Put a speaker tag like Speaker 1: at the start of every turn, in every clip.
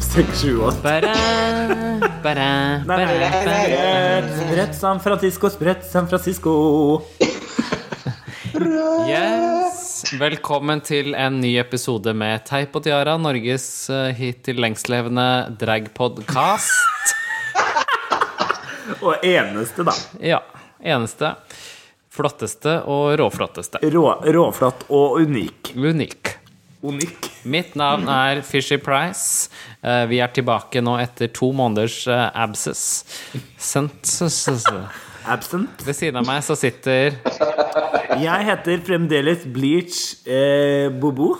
Speaker 1: seks-sju år.
Speaker 2: Bare, bare, bare, bare.
Speaker 1: Spredt San Francisco, spredt San Francisco.
Speaker 2: Yes. Velkommen til en ny episode med Teip og Tiara, Norges eh, hittil lengstlevende dragpodkast.
Speaker 1: Og eneste, da.
Speaker 2: Ja. Eneste. Flotteste og råflotteste.
Speaker 1: Rå, råflott og unik.
Speaker 2: Unik.
Speaker 1: Unik.
Speaker 2: Mitt navn er Fishy Price. Eh, Vi er tilbake nå etter to måneders eh, abscess. Senses.
Speaker 1: Absent.
Speaker 2: Ved siden av meg så sitter
Speaker 1: Jeg heter fremdeles Bleach eh, Bobo.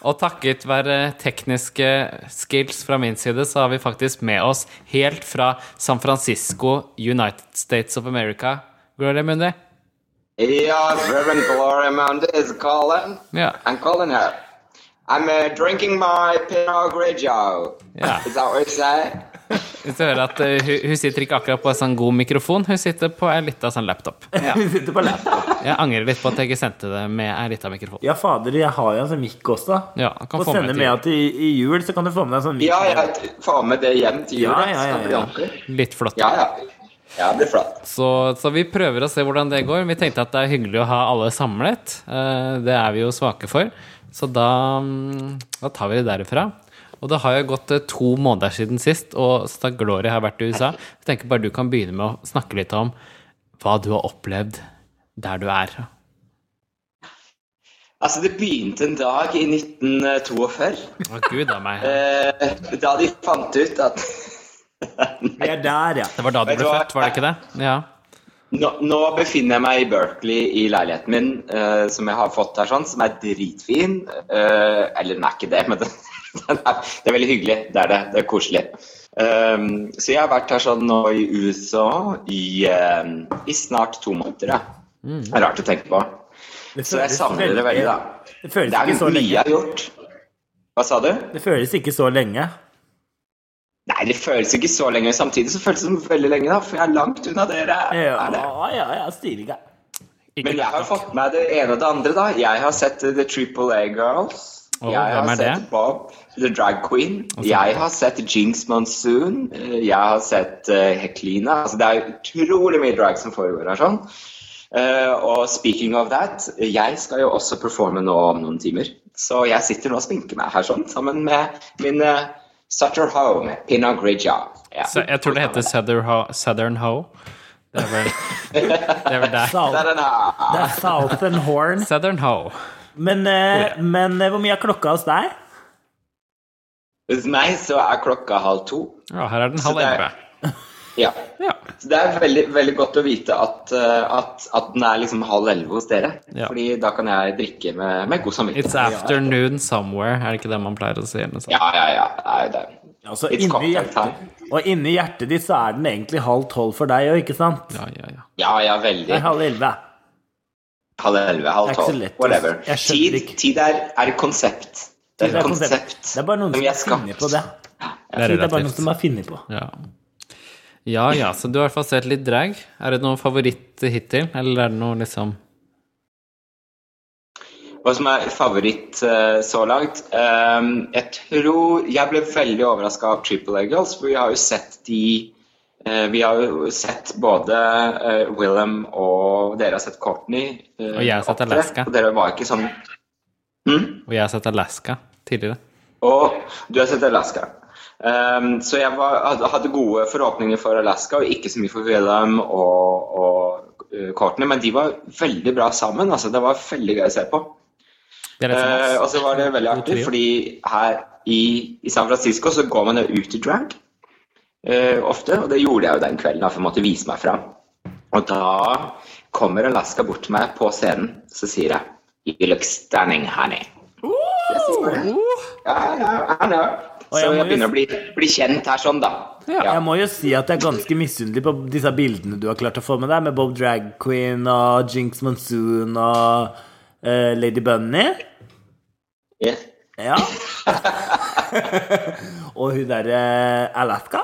Speaker 2: Og takket være tekniske skills fra min side, så har vi faktisk med oss helt fra San Francisco, United States of America. Gloria Mundi.
Speaker 3: Yeah, Reverend Gloria Mound is calling.
Speaker 2: Ja.
Speaker 3: I'm calling her. I'm uh, drinking my Pinot Grigio.
Speaker 2: Ja.
Speaker 3: Is that what you say?
Speaker 2: Hvis du hører at eh, hun, hun sitter ikke akkurat på en sånn god mikrofon, hun sitter på en lita sånn laptop.
Speaker 1: Vi sitter på laptop.
Speaker 2: Jeg angrer litt på at jeg ikke sendte det med en lita mikrofon.
Speaker 1: Ja, fader, jeg har jo en sånn mikk også.
Speaker 2: Ja, han kan
Speaker 1: Få
Speaker 2: få med
Speaker 1: sende
Speaker 2: til
Speaker 1: med til i jul, så kan du få med deg en sånn mikk.
Speaker 3: Ja, jeg får med det hjem til jul.
Speaker 1: Ja, ja, ja,
Speaker 3: så
Speaker 1: ja.
Speaker 3: blir det ordentlig.
Speaker 2: litt flott.
Speaker 3: ja, ja. Ja, det blir flott.
Speaker 2: Så, så vi prøver å se hvordan det går. Vi tenkte at det er hyggelig å ha alle samlet. Eh, Det er vi jo svake for. Så da, mm, da tar vi det derifra. Og det har jo gått eh, to måneder siden sist, og så da Gloria har vært i USA. Jeg tenker bare du kan begynne med å snakke litt om hva du har opplevd der du er.
Speaker 3: Altså, det begynte en dag i eh, 1942,
Speaker 2: Å, gud a meg.
Speaker 3: eh, da de fant ut at
Speaker 1: Vi er der, ja.
Speaker 2: Det var da du
Speaker 3: Vet du
Speaker 2: ble
Speaker 3: hva?
Speaker 2: født, var det ikke det? Ja.
Speaker 3: Nå, nå befinner jeg meg i Berkeley i leiligheten min, eh, som jeg har fått her, sånn, som er dritfin. Eh, eller den er ikke det, men den, den er, det er veldig hyggelig. Det er det. Det er koselig. Ehm, så jeg har vært her sånn nå i USA i, ehm, i snart to måneder. Ja. Det er rart å tenke på.
Speaker 1: Mm. Det
Speaker 3: Så jeg
Speaker 1: føles
Speaker 3: savner det veldig, da.
Speaker 1: Det føles
Speaker 3: Det er
Speaker 1: ikke så
Speaker 3: mye jeg
Speaker 1: lenge.
Speaker 3: har gjort. Hva sa du?
Speaker 1: Det føles ikke så lenge.
Speaker 3: Nei, det føles ikke så lenge. Samtidig så føles det som veldig lenge, da, for jeg er langt unna dere.
Speaker 1: Ja,
Speaker 3: Er det?
Speaker 1: ja, ja, styringa.
Speaker 2: Ikke
Speaker 3: Men jeg har
Speaker 2: nok.
Speaker 3: fått med det ene og det andre, da. Jeg har sett uh, The Triple A Girls.
Speaker 2: Åh,
Speaker 3: jeg har
Speaker 2: hvem er
Speaker 3: sett
Speaker 2: det?
Speaker 3: Bob The Drag Queen. Jeg har sett Jinx Monsoon. Uh, Jeg har sett uh, Heklina. Altså, det er utrolig mye drag som foregår her. sånn. Uh, og speaking of that, jeg skal jo også performe nå om noen timer. Så jeg sitter nå og sminker meg her sånn, sammen med min uh, Sutter Home, Pinot Grigio. Ja.
Speaker 2: Så jeg tror det heter Southern Ho. Southern Ho. Det er vel, det er vel der.
Speaker 1: South,
Speaker 3: Der er den.
Speaker 1: det er Southern Horn.
Speaker 2: Southern Ho.
Speaker 1: Men, eh, men eh, hvor mye er klokka hos deg?
Speaker 3: Hos meg så er klokka halv to.
Speaker 2: Ja, her er den halv
Speaker 3: det er-
Speaker 2: elleve.
Speaker 3: Ja.
Speaker 2: Ja.
Speaker 3: Så Det er veldig, veldig godt å vite at, eh, at, at den er liksom halv elleve hos dere.
Speaker 2: Ja.
Speaker 3: Fordi da kan jeg drikke med, med god samvittighet.
Speaker 2: It's afternoon somewhere, er det ikke det man pleier å si? eller noe sånt?
Speaker 3: Ja, ja, ja. Nei, det er
Speaker 1: Altså,
Speaker 3: It's
Speaker 1: inni
Speaker 3: cocktail
Speaker 1: hjertet,
Speaker 3: time.
Speaker 1: og inni hjertet ditt så er den egentlig halv tolv for deg òg, ikke sant?
Speaker 2: Ja, ja, ja.
Speaker 3: Ja, ja,
Speaker 1: Det
Speaker 3: veldig.
Speaker 1: er halv elleve.
Speaker 3: Halv elleve, halv
Speaker 1: Det er ikke så
Speaker 3: tolv.
Speaker 1: lett,
Speaker 3: Whatever.
Speaker 1: jeg skjønner
Speaker 3: Tid,
Speaker 1: ikke.
Speaker 3: tid er, er et konsept. Det
Speaker 1: Det
Speaker 3: er et
Speaker 1: er konsept.
Speaker 3: konsept.
Speaker 1: Det er bare noen
Speaker 3: som
Speaker 1: som
Speaker 3: vi
Speaker 1: har funnet på det.
Speaker 2: Det
Speaker 1: Det er bare
Speaker 2: er
Speaker 1: noen
Speaker 2: relativt.
Speaker 1: som har funnet på.
Speaker 2: Ja. ja ja, så du har i hvert fall sett litt drag. Er det noen favoritt hittil, eller er det noe liksom
Speaker 3: Hva som er favoritt eh, så langt? Ehm, jeg tror Jeg ble veldig overraska av Triple A Girls, for vi har jo sett de eh, Vi har jo sett både eh, Willem og Dere har sett Courtney. eh,
Speaker 2: Og jeg har sett
Speaker 3: opptre,
Speaker 2: Alaska.
Speaker 3: Og dere var ikke sånn mm?
Speaker 2: Og jeg har sett Alaska tidligere.
Speaker 3: Og du har sett Alaska. Ehm, så jeg var, hadde- hadde gode forhåpninger for Alaska, og ikke så mye for Willem og, og eh, Courtney, men de var veldig bra sammen. Altså, det var veldig gøy å se på.
Speaker 2: Det er litt
Speaker 3: Eh,
Speaker 2: som
Speaker 3: og
Speaker 2: oss.
Speaker 3: så var det veldig
Speaker 2: God
Speaker 3: artig,
Speaker 2: trio.
Speaker 3: fordi her i, i San Francisco så går man jo ut i drag eh, ofte, og det gjorde jeg jo den kvelden, da, for jeg måtte vise meg fram. Og da kommer Alaska bort til meg på scenen, så sier jeg You look stunning, honey. Jeg sier bare, Ja, ja, I know.
Speaker 1: Og
Speaker 3: Så
Speaker 1: jeg må
Speaker 3: jeg
Speaker 1: jo-
Speaker 3: begynner å bli, bli kjent her sånn, da. Ja.
Speaker 1: Jeg må jo si at jeg er ganske misunnelig på disse bildene du har klart å få med deg, med Bob Drag Queen og Jinx Monsoon og eh, Lady Bunny.
Speaker 3: Ja.
Speaker 1: Ja. og hun derre Alaska.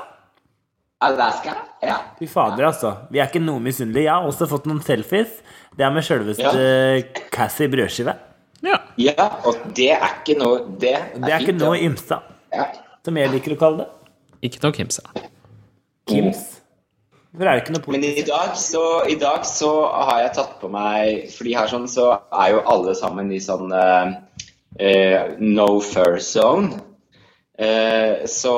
Speaker 3: Alaska? Ja.
Speaker 1: Fy fader, altså. Vi er ikke noe misunnelige. Jeg har også fått noen selfies. Det er med sjølveste Cassie Brødskive.
Speaker 2: Ja.
Speaker 3: ja. Og det er ikke noe Det er,
Speaker 1: Det er ikke noe ymsa.
Speaker 3: Ja.
Speaker 1: som jeg liker å kalle det.
Speaker 2: Ikke noe Kimsa.
Speaker 1: Kims. For det er jo ikke noe
Speaker 3: Men
Speaker 1: politi.
Speaker 3: i dag, så, i dag så har jeg tatt på meg Fordi her sånn så er jo alle sammen i sånn eh, eh, no fur zone. Eh, så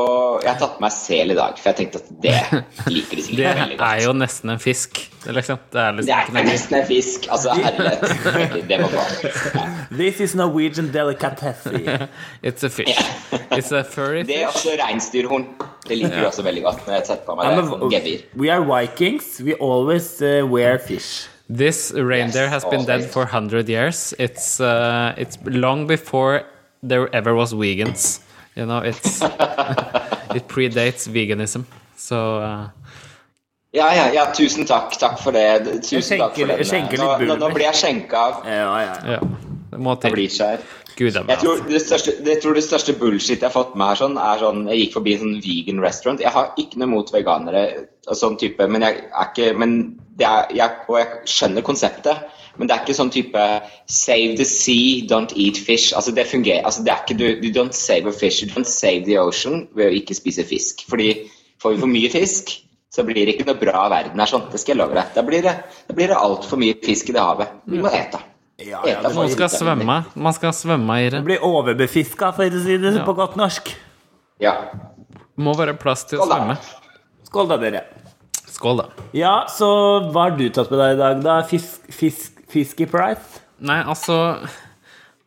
Speaker 3: jeg har tatt på meg sel i dag, for jeg tenkte at det liker
Speaker 2: Det
Speaker 3: de sikkert veldig godt.
Speaker 2: er jo nesten en fisk. Det er liksom, det er
Speaker 3: Det
Speaker 2: liksom
Speaker 3: er
Speaker 2: ikke noe
Speaker 3: nesten en fisk. Altså, herlighet. Det må gå.
Speaker 1: This is Norwegian delicatessen.
Speaker 2: It's a fish. It's a furry
Speaker 3: Det er
Speaker 2: fish.
Speaker 3: også reinsdyrhorn. Det liker vi også veldig godt når jeg setter på meg
Speaker 1: Ja,
Speaker 3: det.
Speaker 1: men
Speaker 3: Sånn gebir.
Speaker 1: we are vikings. We always uh, wear fish.
Speaker 2: This reindeer has been dead for 100 years. It's, uh, it's long before there ever was vegans. You know, it's, it predates veganism. Så uh,
Speaker 3: Ja, ja, ja, tusen takk. Takk for det. Tusen
Speaker 1: Jeg
Speaker 3: takk
Speaker 1: skjenker-
Speaker 3: for
Speaker 1: jeg
Speaker 3: det.
Speaker 1: skjenker litt
Speaker 3: Nå, nå, nå
Speaker 1: bulmer.
Speaker 3: blir jeg skjenka av.
Speaker 1: Ja, ja.
Speaker 2: ja, det må
Speaker 3: Jeg
Speaker 2: til.
Speaker 3: blir skjær.
Speaker 2: Gud det er
Speaker 3: Jeg
Speaker 2: bra.
Speaker 3: tror det største, jeg tror det største bullshit jeg har fått med her, sånn, er sånn Jeg gikk forbi en sånn vegan restaurant. Jeg har ikke noe mot veganere og sånn type, men jeg er ikke men det er, jeg, Og jeg skjønner konseptet, men det er ikke sånn type Save the sea, don't eat fish. Altså, det fungerer. Altså, det er ikke du You don't save a fish, you don't save the ocean ved å ikke spise fisk. Fordi får vi for mye fisk, så blir det ikke noe bra verden her, sånn. Det skal jeg love deg. Da blir det, da blir det altfor mye fisk i det havet. Vi må ete.
Speaker 1: Ja, ja,
Speaker 3: Ete
Speaker 1: det
Speaker 2: Man
Speaker 3: får-
Speaker 2: skal svømme. Man skal svømme i det.
Speaker 1: Det blir overbefiska, for å si det på godt norsk.
Speaker 3: Ja.
Speaker 2: Må være plass til å
Speaker 3: Skål da.
Speaker 2: svømme.
Speaker 1: Skål, da, dere.
Speaker 2: Skål, da.
Speaker 1: Ja, så hva har du tatt med deg i dag, da? Fisk, fisk, fisky price?
Speaker 2: Nei, altså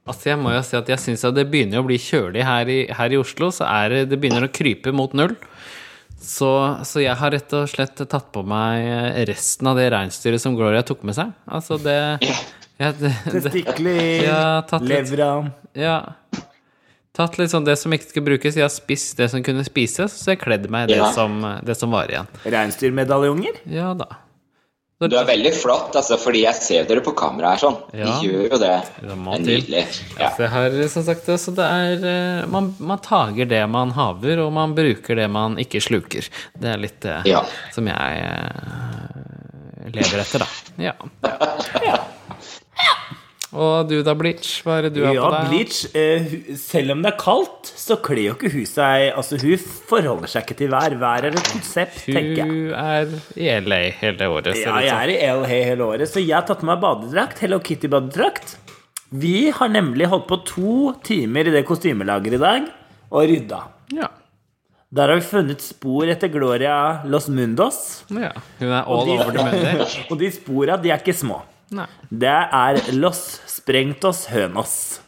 Speaker 2: Altså, jeg må jo si at jeg syns at det begynner å bli kjølig her i, her i Oslo. Så er det, det begynner å krype mot null. Så, så jeg har rett og slett tatt på meg resten av det reinsdyret som Gloria tok med seg. Altså, det jeg, det, det,
Speaker 1: Testikler,
Speaker 2: Ja, tatt litt.
Speaker 1: levra
Speaker 2: Ja. Tatt litt sånn det som ikke skulle brukes. Jeg har spist det som kunne spises, så jeg kledde meg i det,
Speaker 3: Ja.
Speaker 2: som, det som var igjen.
Speaker 1: Reinsdyrmedaljonger?
Speaker 2: Ja da.
Speaker 3: Du er veldig flott, altså, fordi jeg ser dere på kamera her sånn.
Speaker 2: Ja.
Speaker 3: De gjør jo det.
Speaker 2: Det
Speaker 3: Det
Speaker 2: må
Speaker 3: er
Speaker 2: til.
Speaker 3: nydelig. Ja.
Speaker 2: Altså, jeg har som sagt det, så det er eh, man, man tager det man haver, og man bruker det man ikke sluker. Det er litt det
Speaker 3: Ja.
Speaker 2: som jeg eh, lever etter, da. Ja. Og du da, Bleach? Hva er det du har
Speaker 1: Ja,
Speaker 2: på deg?
Speaker 1: bleach. eh, hu- selv om det er kaldt, så kler jo ikke hun seg Altså, hun forholder seg ikke til vær. Vær er et konsept, tenker jeg.
Speaker 2: Du er i LA hele året,
Speaker 1: Ja,
Speaker 2: ser det ut
Speaker 1: jeg
Speaker 2: som.
Speaker 1: er i LA hele året, så jeg har tatt med meg badedrakt. Hello Kitty-badedrakt. Vi har nemlig holdt på to timer i det kostymelageret i dag og rydda.
Speaker 2: Ja.
Speaker 1: Der har vi funnet spor etter Gloria Los Mundos.
Speaker 2: ja. Hun er all over the munder.
Speaker 1: og de spora, de er ikke små.
Speaker 2: Nei.
Speaker 1: Det er Los Sprengtos Hønos,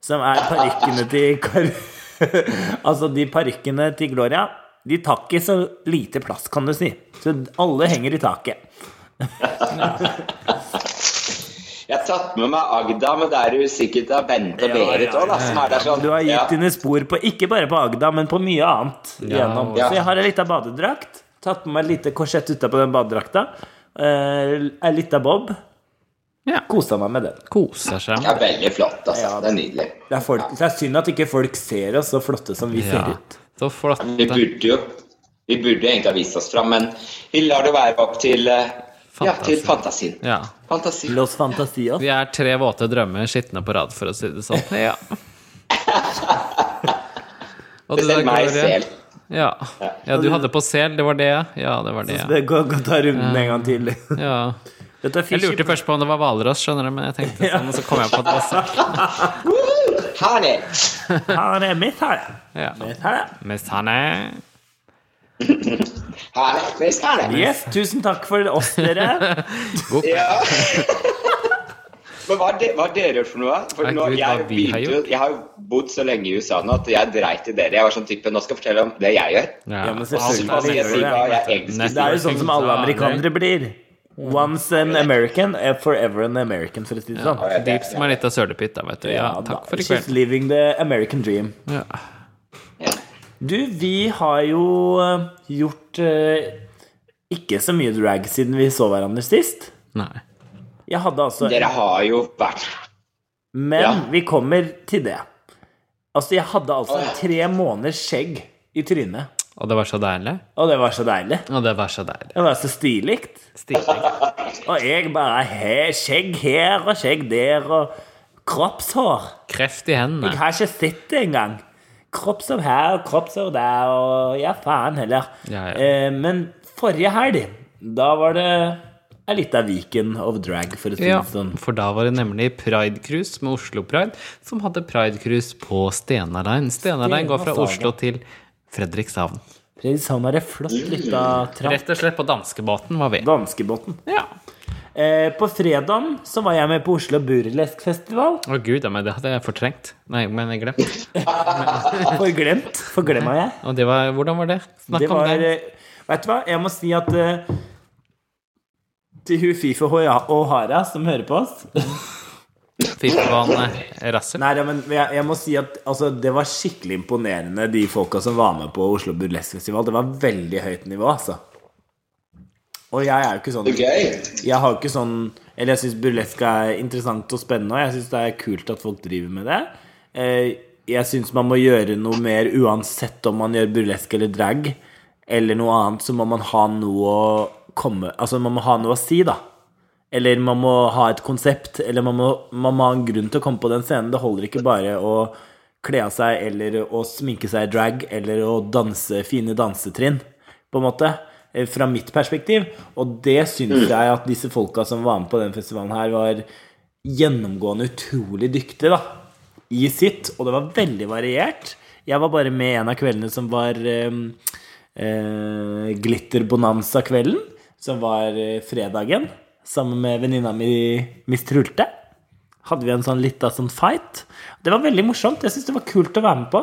Speaker 1: som er parykkene til Kar... altså, de parykkene til Gloria, de tar ikke så lite plass, kan du si. Så alle henger i taket.
Speaker 3: Jeg har tatt med meg Agda, men det er jo sikkert av Bente og
Speaker 1: Ja,
Speaker 3: Berit
Speaker 1: ja,
Speaker 3: òg, da, som er der sånn.
Speaker 1: Du har gitt
Speaker 3: Ja.
Speaker 1: dine spor på, ikke bare på Agda, men på mye annet.
Speaker 2: Ja,
Speaker 1: gjennom.
Speaker 3: ja.
Speaker 1: Så jeg har ei lita badedrakt. Tatt på meg et lite korsett utapå den badedrakta. Eh, Ei lita bob.
Speaker 2: Ja.
Speaker 1: Kosa meg med den.
Speaker 2: Koser seg.
Speaker 3: Ja, veldig flott, altså.
Speaker 1: Ja.
Speaker 3: Det er nydelig.
Speaker 1: Det er, folk, det er synd at ikke folk ser oss så flotte som vi
Speaker 2: Ja.
Speaker 1: ser ut.
Speaker 2: Så flott.
Speaker 3: Vi burde jo vi burde egentlig ha vist oss fram, men vi lar det være opp til eh, Ja, til fantasien.
Speaker 2: Ja.
Speaker 3: Fantasien.
Speaker 1: Los Fantasios.
Speaker 2: Vi er tre våte drømmer skitne på rad, for å si det sånn. Ja. Og du da,
Speaker 3: Selv meg
Speaker 2: Gloria?
Speaker 3: selv.
Speaker 2: Ja. ja, du hadde på sel, det var det, ja? Ja, det var det, ja.
Speaker 1: Det går godt å ta runden en gang til.
Speaker 2: ja.
Speaker 1: Dette er
Speaker 2: Jeg
Speaker 1: fishy-
Speaker 2: lurte først på om det var hvalross, skjønner du, men jeg tenkte sånn, og så kom jeg på at det var sel.
Speaker 3: Herlig!
Speaker 1: Her er mitt her.
Speaker 2: Ja.
Speaker 1: Mitt her.
Speaker 2: Mens han er
Speaker 3: Herlig. Mest herlig.
Speaker 1: Yes, tusen takk for oss, dere.
Speaker 3: Ja. Men hva har de- hva har dere gjort for noe? da? For
Speaker 2: Nei,
Speaker 3: nå,
Speaker 2: Gud,
Speaker 3: jeg,
Speaker 2: hva vi har
Speaker 3: begynte
Speaker 2: gjort.
Speaker 3: jo- jeg har jo bodd så lenge i USA nå at jeg dreit i dere. Jeg var sånn type Nå skal jeg fortelle om det jeg gjør.
Speaker 1: Ja, men
Speaker 3: Og så skal Altså, jeg si hva jeg egentlig
Speaker 2: Nett.
Speaker 3: skal
Speaker 1: Det er jo sånn som alle amerikanere blir. Once an American, eh, forever an American, for å si det sånn.
Speaker 3: gjøre.
Speaker 2: Deep som er litt av sølepytt, da, vet du. Ja, takk for i
Speaker 1: She's
Speaker 2: kveld.
Speaker 1: living the American dream.
Speaker 2: Ja.
Speaker 1: Du, vi har jo eh, gjort eh, ikke så mye drag siden vi så hverandre sist.
Speaker 2: Nei.
Speaker 1: Jeg hadde altså
Speaker 3: Dere har jo vært
Speaker 1: Men
Speaker 3: Ja.
Speaker 1: vi kommer til det. Altså, jeg hadde altså
Speaker 3: Å, ja.
Speaker 1: tre måneders skjegg i trynet.
Speaker 2: Og det var så deilig.
Speaker 1: Og det var så deilig.
Speaker 2: Og det var så deilig.
Speaker 1: Det var så stilig.
Speaker 2: Stilig.
Speaker 1: Og jeg bare he, Skjegg her og skjegg der og kroppshår.
Speaker 2: Kreft i hendene.
Speaker 1: Jeg har ikke sett det engang. kroppsår her og kroppsår der, og ja, faen heller.
Speaker 2: Ja, ja.
Speaker 1: Eh, men forrige helg, da var det ei lita Viken of drag, for å si det
Speaker 2: Ja,
Speaker 1: sånn.
Speaker 2: for da var det nemlig Pride Cruise med Oslo Pride, som hadde Pride Cruise på Stena Line. Stena Line går
Speaker 1: Stena
Speaker 2: fra
Speaker 1: Saga.
Speaker 2: Oslo til Fredrikshavn.
Speaker 1: Fredrikshavn var ei flott lita trapp.
Speaker 2: Rett og slett på danskebåten var vi.
Speaker 1: Danskebåten.
Speaker 2: Ja.
Speaker 1: Eh, på fredagen så var jeg med på Oslo Burleskfestival.
Speaker 2: Å gud, ja, men det hadde jeg fortrengt. Nei, men jeg glemt.
Speaker 1: Forglemt. Forglemma jeg.
Speaker 2: Og det var, hvordan var det? Snakk
Speaker 1: Det
Speaker 2: om
Speaker 1: var
Speaker 2: det.
Speaker 1: eh, Vet du hva, jeg må si at eh, til hun Fife Hoya- og Hara som hører på oss
Speaker 2: Fiffebane Rassel.
Speaker 1: Nei, ja, men jeg, jeg må si at altså, det var skikkelig imponerende, de folka som var med på Oslo Burlesk Festival. Det var veldig høyt nivå, altså. Og jeg er jo ikke sånn
Speaker 3: Det er gøy.
Speaker 1: Jeg har jo ikke sånn Eller jeg syns burlesk er interessant og spennende, og jeg syns det er kult at folk driver med det. Eh, Jeg syns man må gjøre noe mer uansett om man gjør burlesk eller drag eller noe annet, så må man ha noe å komme Altså, man må ha noe å si, da. Eller man må ha et konsept, eller man må, man må ha en grunn til å komme på den scenen. Det holder ikke bare å kle av seg eller å sminke seg i drag eller å danse fine dansetrinn, på en måte. eh, Fra mitt perspektiv. Og det syns jeg at disse folka som var med på den festivalen her, var gjennomgående utrolig dyktige, da. I sitt. Og det var veldig variert. Jeg var bare med en av kveldene som var eh, eh, Glitter Bonanza-kvelden, som var eh, fredagen, sammen med venninna mi Miss Trulte. Hadde vi en sånn lita sånn fight. Det var veldig morsomt. Jeg syns det var kult å være med på.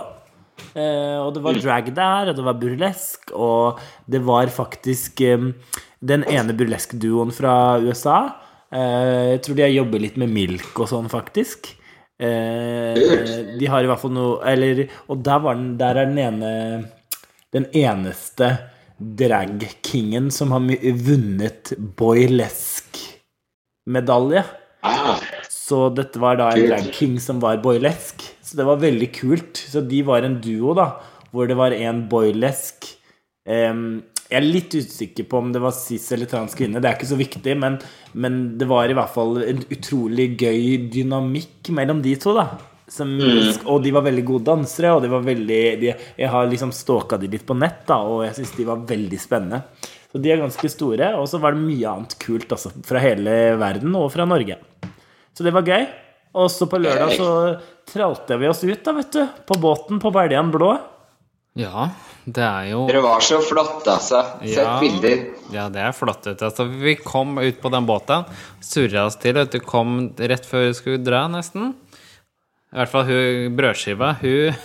Speaker 1: Eh, og det var drag der, og det var burlesk, og det var faktisk eh, den ene burlesk-duoen fra USA. Eh, jeg tror de har jobbet litt med Milk og sånn, faktisk. Eh, de har i hvert fall noe Eller Og der, var den, der er den ene den eneste drag-kingen som har mi- vunnet boilesk-medalje.
Speaker 3: Ah,
Speaker 1: Så dette var da en drag king som var boilesk. Så det var veldig kult. Så de var en duo, da, hvor det var en boilesk em, Jeg er litt usikker på om det var cis eller trans kvinne, det er ikke så viktig, men, men det var i hvert fall en utrolig gøy dynamikk mellom de to, da. Som, Og de var veldig gode dansere, og de var veldig de, Jeg har liksom stalka de litt på nett, da, og jeg syns de var veldig spennende. Så de er ganske store, og så var det mye annet kult, altså. Fra hele verden og fra Norge. Så det var gøy. Og så på lørdag så tralte vi oss ut, da, vet du. På båten på Beljan Blå.
Speaker 2: Ja, det er jo
Speaker 3: dere var så flotte, altså. Sett bilder.
Speaker 2: Ja, det er flott. Vet du. Altså, vi kom ut på den båten, surra oss til, vet du, kom rett før vi skulle dra, nesten. I hvert fall hun brødskiva. Hun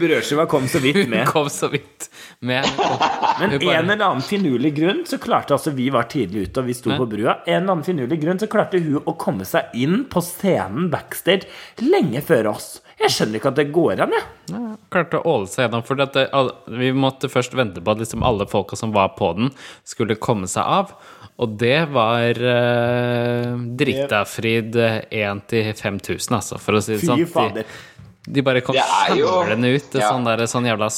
Speaker 1: Brødskiva kom så vidt med.
Speaker 2: kom så vidt med.
Speaker 1: Men
Speaker 2: Hun bare-
Speaker 1: en eller annen finurlig grunn så klarte altså Vi var tidlig ute, og vi sto på brua. En eller annen finurlig grunn så klarte hun å komme seg inn på scenen backstage lenge før oss. Jeg skjønner ikke at det går an, jeg.
Speaker 2: Ja, klarte å åle seg gjennom. For at det, alle, vi måtte først vente på at liksom alle folka som var på den, skulle komme seg av. Og det var eh, Drita-Frid 1 til 5000, altså, for å si det sånn.
Speaker 1: Fy
Speaker 2: De-
Speaker 1: fader.
Speaker 2: De bare kom
Speaker 3: Det er jo-
Speaker 2: samlende ut. Ja.
Speaker 3: Ja.
Speaker 2: Sånn, der, sånn jævla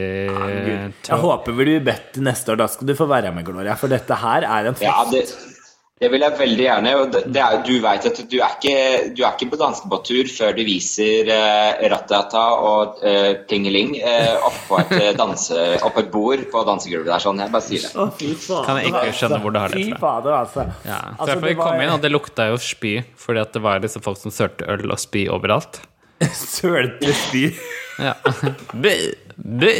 Speaker 1: Gud.
Speaker 2: zombie
Speaker 1: Jeg håper vi blir bedt til neste år. Da skal du få være med, Gloria. For dette her er en
Speaker 3: Ja,
Speaker 1: fest.
Speaker 3: det, det vil jeg veldig gjerne. Og det, det er, jo- du vet at du er ikke, du er ikke på danskebåttur før du viser eh, Ratata og eh, Tingeling eh, oppå et, eh, danse- opp på et bord på dansegulvet der. sånn, Jeg bare sier det.
Speaker 1: Å, fy fader,
Speaker 2: Kan jeg ikke skjønne hvor du har det
Speaker 1: altså.
Speaker 2: fra.
Speaker 1: Fy fader, altså.
Speaker 2: Ja.
Speaker 1: Altså,
Speaker 2: Så derfor
Speaker 1: det
Speaker 2: vi
Speaker 1: var-
Speaker 2: kom inn, og det lukta jo spy, fordi at det var liksom folk som sølte øl og spy overalt.
Speaker 1: Sølte spy.
Speaker 2: Ja. Bø, bø,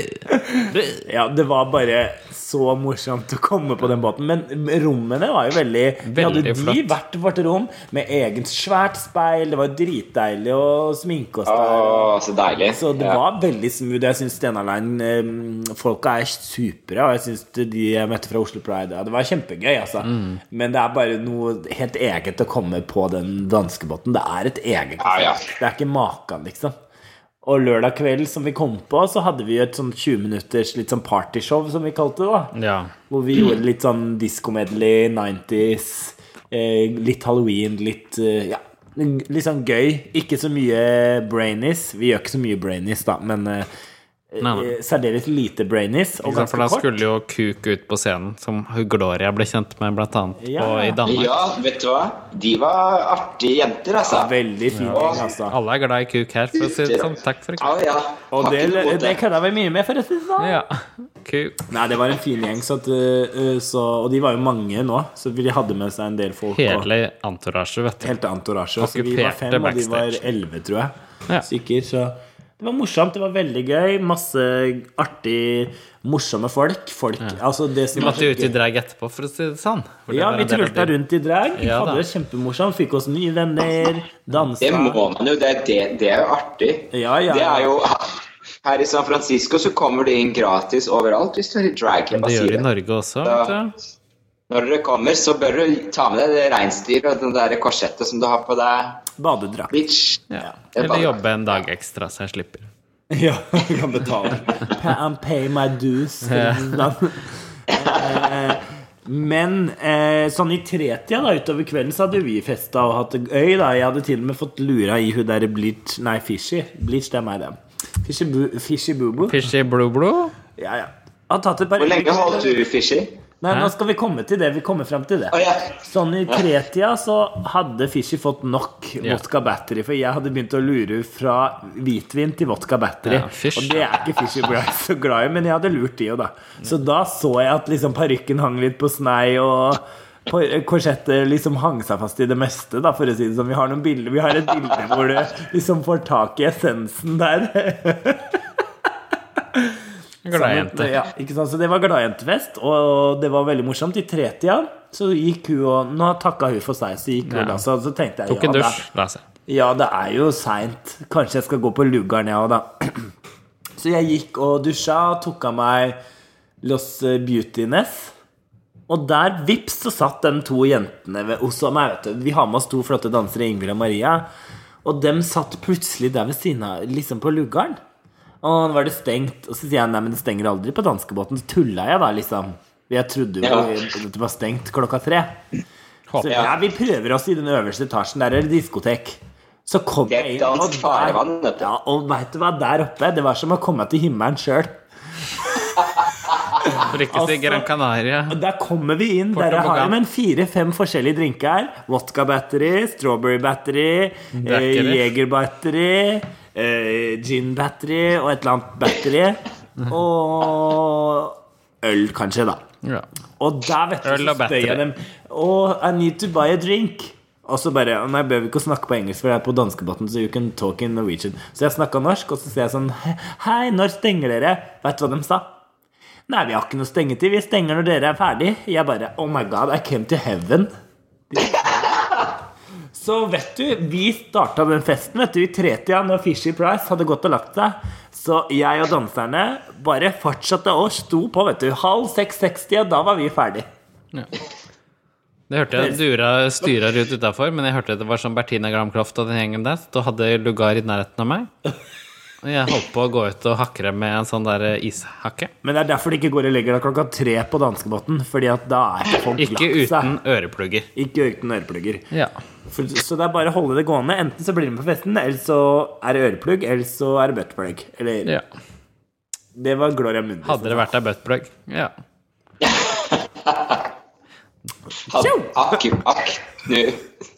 Speaker 2: bø.
Speaker 1: Ja, det var bare så morsomt å komme på den båten. Men rommene var jo veldig Vi hadde
Speaker 2: Veldig
Speaker 1: de
Speaker 2: flott.
Speaker 1: hvert vårt rom med eget svært speil. Det var jo dritdeilig å sminke oss der.
Speaker 3: Å, så deilig.
Speaker 1: Så det
Speaker 3: Ja.
Speaker 1: var veldig smooth. Jeg syns Stena Line-folka ehm, er supre. Og jeg syns de jeg møtte fra Oslo Pride ja, Det var kjempegøy, altså.
Speaker 3: Mm.
Speaker 1: Men det er bare noe helt eget å komme på den danskebåten. Det er et eget
Speaker 3: Ja, ja.
Speaker 1: Det er ikke maken, liksom. Og lørdag kveld som vi kom på, så hadde vi et sånn 20 minutters litt sånn partyshow, som vi kalte det. da
Speaker 2: Ja.
Speaker 1: hvor vi gjorde litt sånn disco-medley, 90s, eh, litt halloween, litt eh, Ja. Litt sånn gøy. Ikke så mye brainies. Vi gjør ikke så mye brainies, da, men eh,
Speaker 2: Nei, nei.
Speaker 1: eh, særdeles lite brainies og
Speaker 2: Ikke sant, For da
Speaker 1: ganske kort.
Speaker 2: skulle jo Kuk ut på scenen, som Gloria ble kjent med blant annet
Speaker 1: Ja.
Speaker 2: på, i Danmark.
Speaker 3: Ja, vet du hva? De var artige jenter, altså.
Speaker 1: Veldig fin gjeng, altså.
Speaker 2: Alle er glad i Kuk her, for å si det sånn. Takk for
Speaker 3: Ja,
Speaker 2: kuk.
Speaker 3: ja.
Speaker 1: Og
Speaker 3: Har
Speaker 1: det,
Speaker 3: ikke noe mot
Speaker 1: det kødda vi mye med, for å si det sånn.
Speaker 2: Ja. Kuk.
Speaker 1: Nei, det var en fin gjeng, så at, eh, så, og de var jo mange nå, så de hadde med seg en del folk. og-
Speaker 2: Hele entourage, vet du.
Speaker 1: helt antorasje. Altså, vi var
Speaker 2: Okkuperte
Speaker 1: fem, og de var
Speaker 2: backstage.
Speaker 1: elleve, tror jeg.
Speaker 2: Ja.
Speaker 1: Stykker, så det var morsomt. Det var veldig gøy. Masse artig, morsomme folk. folk altså, det som
Speaker 2: Vi
Speaker 1: er
Speaker 2: måtte
Speaker 1: så
Speaker 2: ut i
Speaker 1: gøy-
Speaker 2: drag etterpå, for å si det sånn. For det
Speaker 1: Ja,
Speaker 2: var
Speaker 1: vi
Speaker 2: en del av
Speaker 1: trulta
Speaker 2: de-
Speaker 1: rundt i drag.
Speaker 2: Ja, da.
Speaker 1: hadde det kjempemorsomt. Fikk oss nye venner.
Speaker 3: Det
Speaker 1: Dansa.
Speaker 3: må man jo. Det, det, det er jo artig.
Speaker 1: Ja, ja.
Speaker 3: Det er jo Her i San Francisco så kommer det inn gratis overalt hvis du er i drag. jeg
Speaker 2: Det
Speaker 3: bare sier
Speaker 2: gjør de i
Speaker 3: det.
Speaker 2: Norge også, vet du.
Speaker 3: Når dere kommer, så bør du ta med deg det reinsdyret og det der korsettet som du har på deg.
Speaker 1: Badedrakt.
Speaker 3: Bitch.
Speaker 2: Ja.
Speaker 3: Det er
Speaker 2: Eller
Speaker 3: bare-
Speaker 2: jobbe en dag ekstra, så jeg slipper.
Speaker 1: Ja, du kan betale. Pa- And pay my dues. for å si det sånn. Eh, Men eh, sånn i tretida da, utover kvelden så hadde vi festa og hatt det gøy. da Jeg hadde til og med fått lura i hun derre Bleach Nei, Fishy. Bleach, det er meg, det. Fishy, bu fishy Bubu.
Speaker 2: Fishy Blue Blue?
Speaker 1: Ja, ja. Har tatt et par
Speaker 3: Hvor lenge holdt du, Fishy?
Speaker 1: Nei, nå skal vi komme til det. Vi kommer frem til det.
Speaker 3: Å ja.
Speaker 1: Sånn i tretida så hadde Fishy fått nok vodka battery, for jeg hadde begynt å lure fra hvitvin til vodka battery.
Speaker 2: Ja, fish.
Speaker 1: og det er ikke Fishy Bride så glad i, men jeg hadde lurt de jo, da. Så da så jeg at liksom parykken hang litt på snei, og på- eh, korsettet liksom hang seg fast i det meste, da, for å si det sånn. Vi har noen bilder Vi har et bilde hvor du liksom får tak i essensen der.
Speaker 2: Gladjente.
Speaker 1: Ja, ikke sant? Så det var gladjentefest, og det var veldig morsomt. I tretida så gikk hun og Nå takka hun for seg, så gikk hun
Speaker 2: Ja.
Speaker 1: og la seg. og Så tenkte jeg
Speaker 2: Tok en
Speaker 1: ja,
Speaker 2: dusj, la seg.
Speaker 1: Det, ja, det er jo seint. Kanskje jeg skal gå på lugaren, jeg òg, da. Så jeg gikk og dusja og tok av meg Los Beautiness. Og der, vips, så satt de to jentene ved, hos meg. vet du. Vi har med oss to flotte dansere, Ingvild og Maria. Og dem satt plutselig der ved siden av, liksom på lugaren. Og nå var det stengt. Og så sier jeg nei, men det stenger aldri på danskebåten. Så tulla jeg da, liksom. Jeg trodde jo
Speaker 3: Ja.
Speaker 1: det var stengt klokka tre. Så
Speaker 2: Håper jeg.
Speaker 1: ja, vi prøver oss i den øverste etasjen. Der er det diskotek. Så kom
Speaker 3: Det er
Speaker 1: jeg inn,
Speaker 3: dansk
Speaker 1: og der-
Speaker 3: farvann, vet du.
Speaker 1: Ja, og vet du hva, der oppe, det var som å komme til himmelen sjøl.
Speaker 2: For ikke å si Gran Canaria.
Speaker 1: Og Der kommer vi inn. Der har
Speaker 2: Portugal.
Speaker 1: jeg men fire-fem forskjellige drinker. Vodka battery, strawberry battery, eh,
Speaker 2: Drakere.
Speaker 1: jeger battery, eh, gin battery og et eller annet battery. Og øl, kanskje, da.
Speaker 2: Ja.
Speaker 1: Og der, vet du,
Speaker 2: Øl
Speaker 1: så
Speaker 2: og
Speaker 1: spør jeg
Speaker 2: battery.
Speaker 1: dem Oh, I need to buy a drink. Og så bare Nei, jeg behøver ikke å snakke på engelsk, for jeg er på danskebåten, så you can talk in Norwegian. Så jeg snakka norsk, og så sier jeg sånn Hei, når stenger dere? Vet du hva de sa? Nei, vi har ikke noe stengetid. Vi stenger når dere er ferdig. Jeg bare Oh my God, I came to heaven. Så vet du, vi starta den festen vet du, i tretida når Fishy Price hadde gått og lagt seg. Så jeg og danserne bare fortsatte å sto på. vet du Halv seks 60, og da var vi ferdig.
Speaker 2: Det hørte jeg dura styra ut utafor, men jeg hørte det var sånn Bertina Glamkloft og den gjengen der. Da hadde lugar i nærheten av meg. Og jeg holdt på å gå ut og hakre med en sånn der ishakke.
Speaker 1: Men det er derfor de ikke går og legger deg klokka tre på danskebåten. Fordi at da er ikke folk
Speaker 2: Ikke
Speaker 1: lagt seg.
Speaker 2: uten øreplugger.
Speaker 1: Ikke uten øreplugger.
Speaker 2: Ja.
Speaker 1: For, så det er bare å holde det gående. Enten så blir de med på festen, eller så er det øreplugg, eller så er det buttplug. Eller
Speaker 2: ja.
Speaker 1: Det var Gloria Mundi.
Speaker 2: Hadde det vært ei buttplug. Ja.
Speaker 3: Ak- Akk, akk, nu.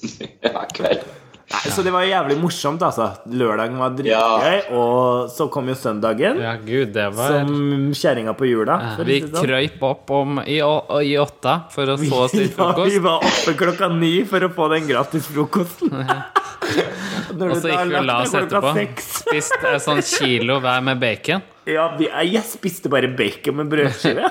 Speaker 3: Ja, kveld.
Speaker 1: Nei, Så det var jævlig morsomt, altså. Lørdagen var dritgøy,
Speaker 3: Ja.
Speaker 1: og så kom jo søndagen.
Speaker 2: ja, gud, det var
Speaker 1: Som kjerringa på jula. for å
Speaker 2: Vi
Speaker 1: si det sånn.
Speaker 2: krøyp opp om i, å- i åtta for å få oss litt
Speaker 1: Ja, vi
Speaker 2: frokost.
Speaker 1: var oppe klokka ni for å få den gratis frokosten. Når
Speaker 2: Og
Speaker 1: du
Speaker 2: så
Speaker 1: da
Speaker 2: gikk vi og
Speaker 1: lagt deg
Speaker 2: la oss
Speaker 1: klokka
Speaker 2: etterpå.
Speaker 1: seks.
Speaker 2: Spiste en sånn kilo hver med bacon.
Speaker 1: Ja, vi, eh, jeg spiste bare bacon med brødskive.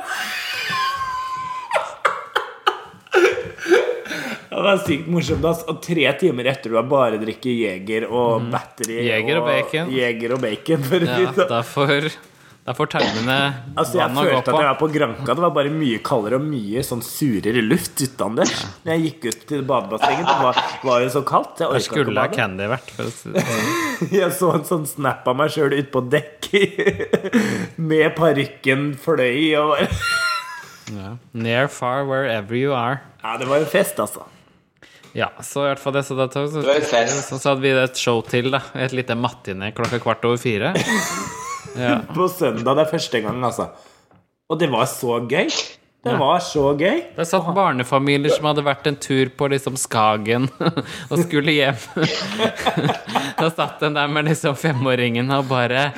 Speaker 1: Det var sykt morsomt. ass. Og tre timer etter du har bare drikket Jeger og battery
Speaker 2: Mhm. Jeger og bacon.
Speaker 1: Jeger og bacon for å si
Speaker 2: Ja,
Speaker 1: det sånn.
Speaker 2: da får, da får tarmene
Speaker 1: Altså, jeg
Speaker 2: vann å gå
Speaker 1: følte at
Speaker 2: på.
Speaker 1: jeg var på Granca. Det var bare mye kaldere og mye sånn surere luft utendørs. Når jeg gikk ut til badebassenget, det var, var jo så kaldt. Jeg
Speaker 2: Jeg
Speaker 1: orka ikke å
Speaker 2: skulle ha
Speaker 1: bade.
Speaker 2: candy vært. For å si det. sånn.
Speaker 1: Jeg så en sånn snap av meg sjøl ute på dekk med parykken fløy og
Speaker 2: Near, far, wherever you are.
Speaker 1: Ja, det var en fest, altså.
Speaker 2: Ja, så i hvert fall det, så, da tok, så,
Speaker 3: Det var fest.
Speaker 2: så, så hadde vi et show til, da. Et lite matiné klokka kvart over fire. Ja.
Speaker 1: på søndag. Det er første gang, altså. Og det var så gøy. Det var så gøy.
Speaker 2: Det satt barnefamilier som hadde vært en tur på liksom Skagen og skulle hjem. Da satt den der med liksom femåringen og bare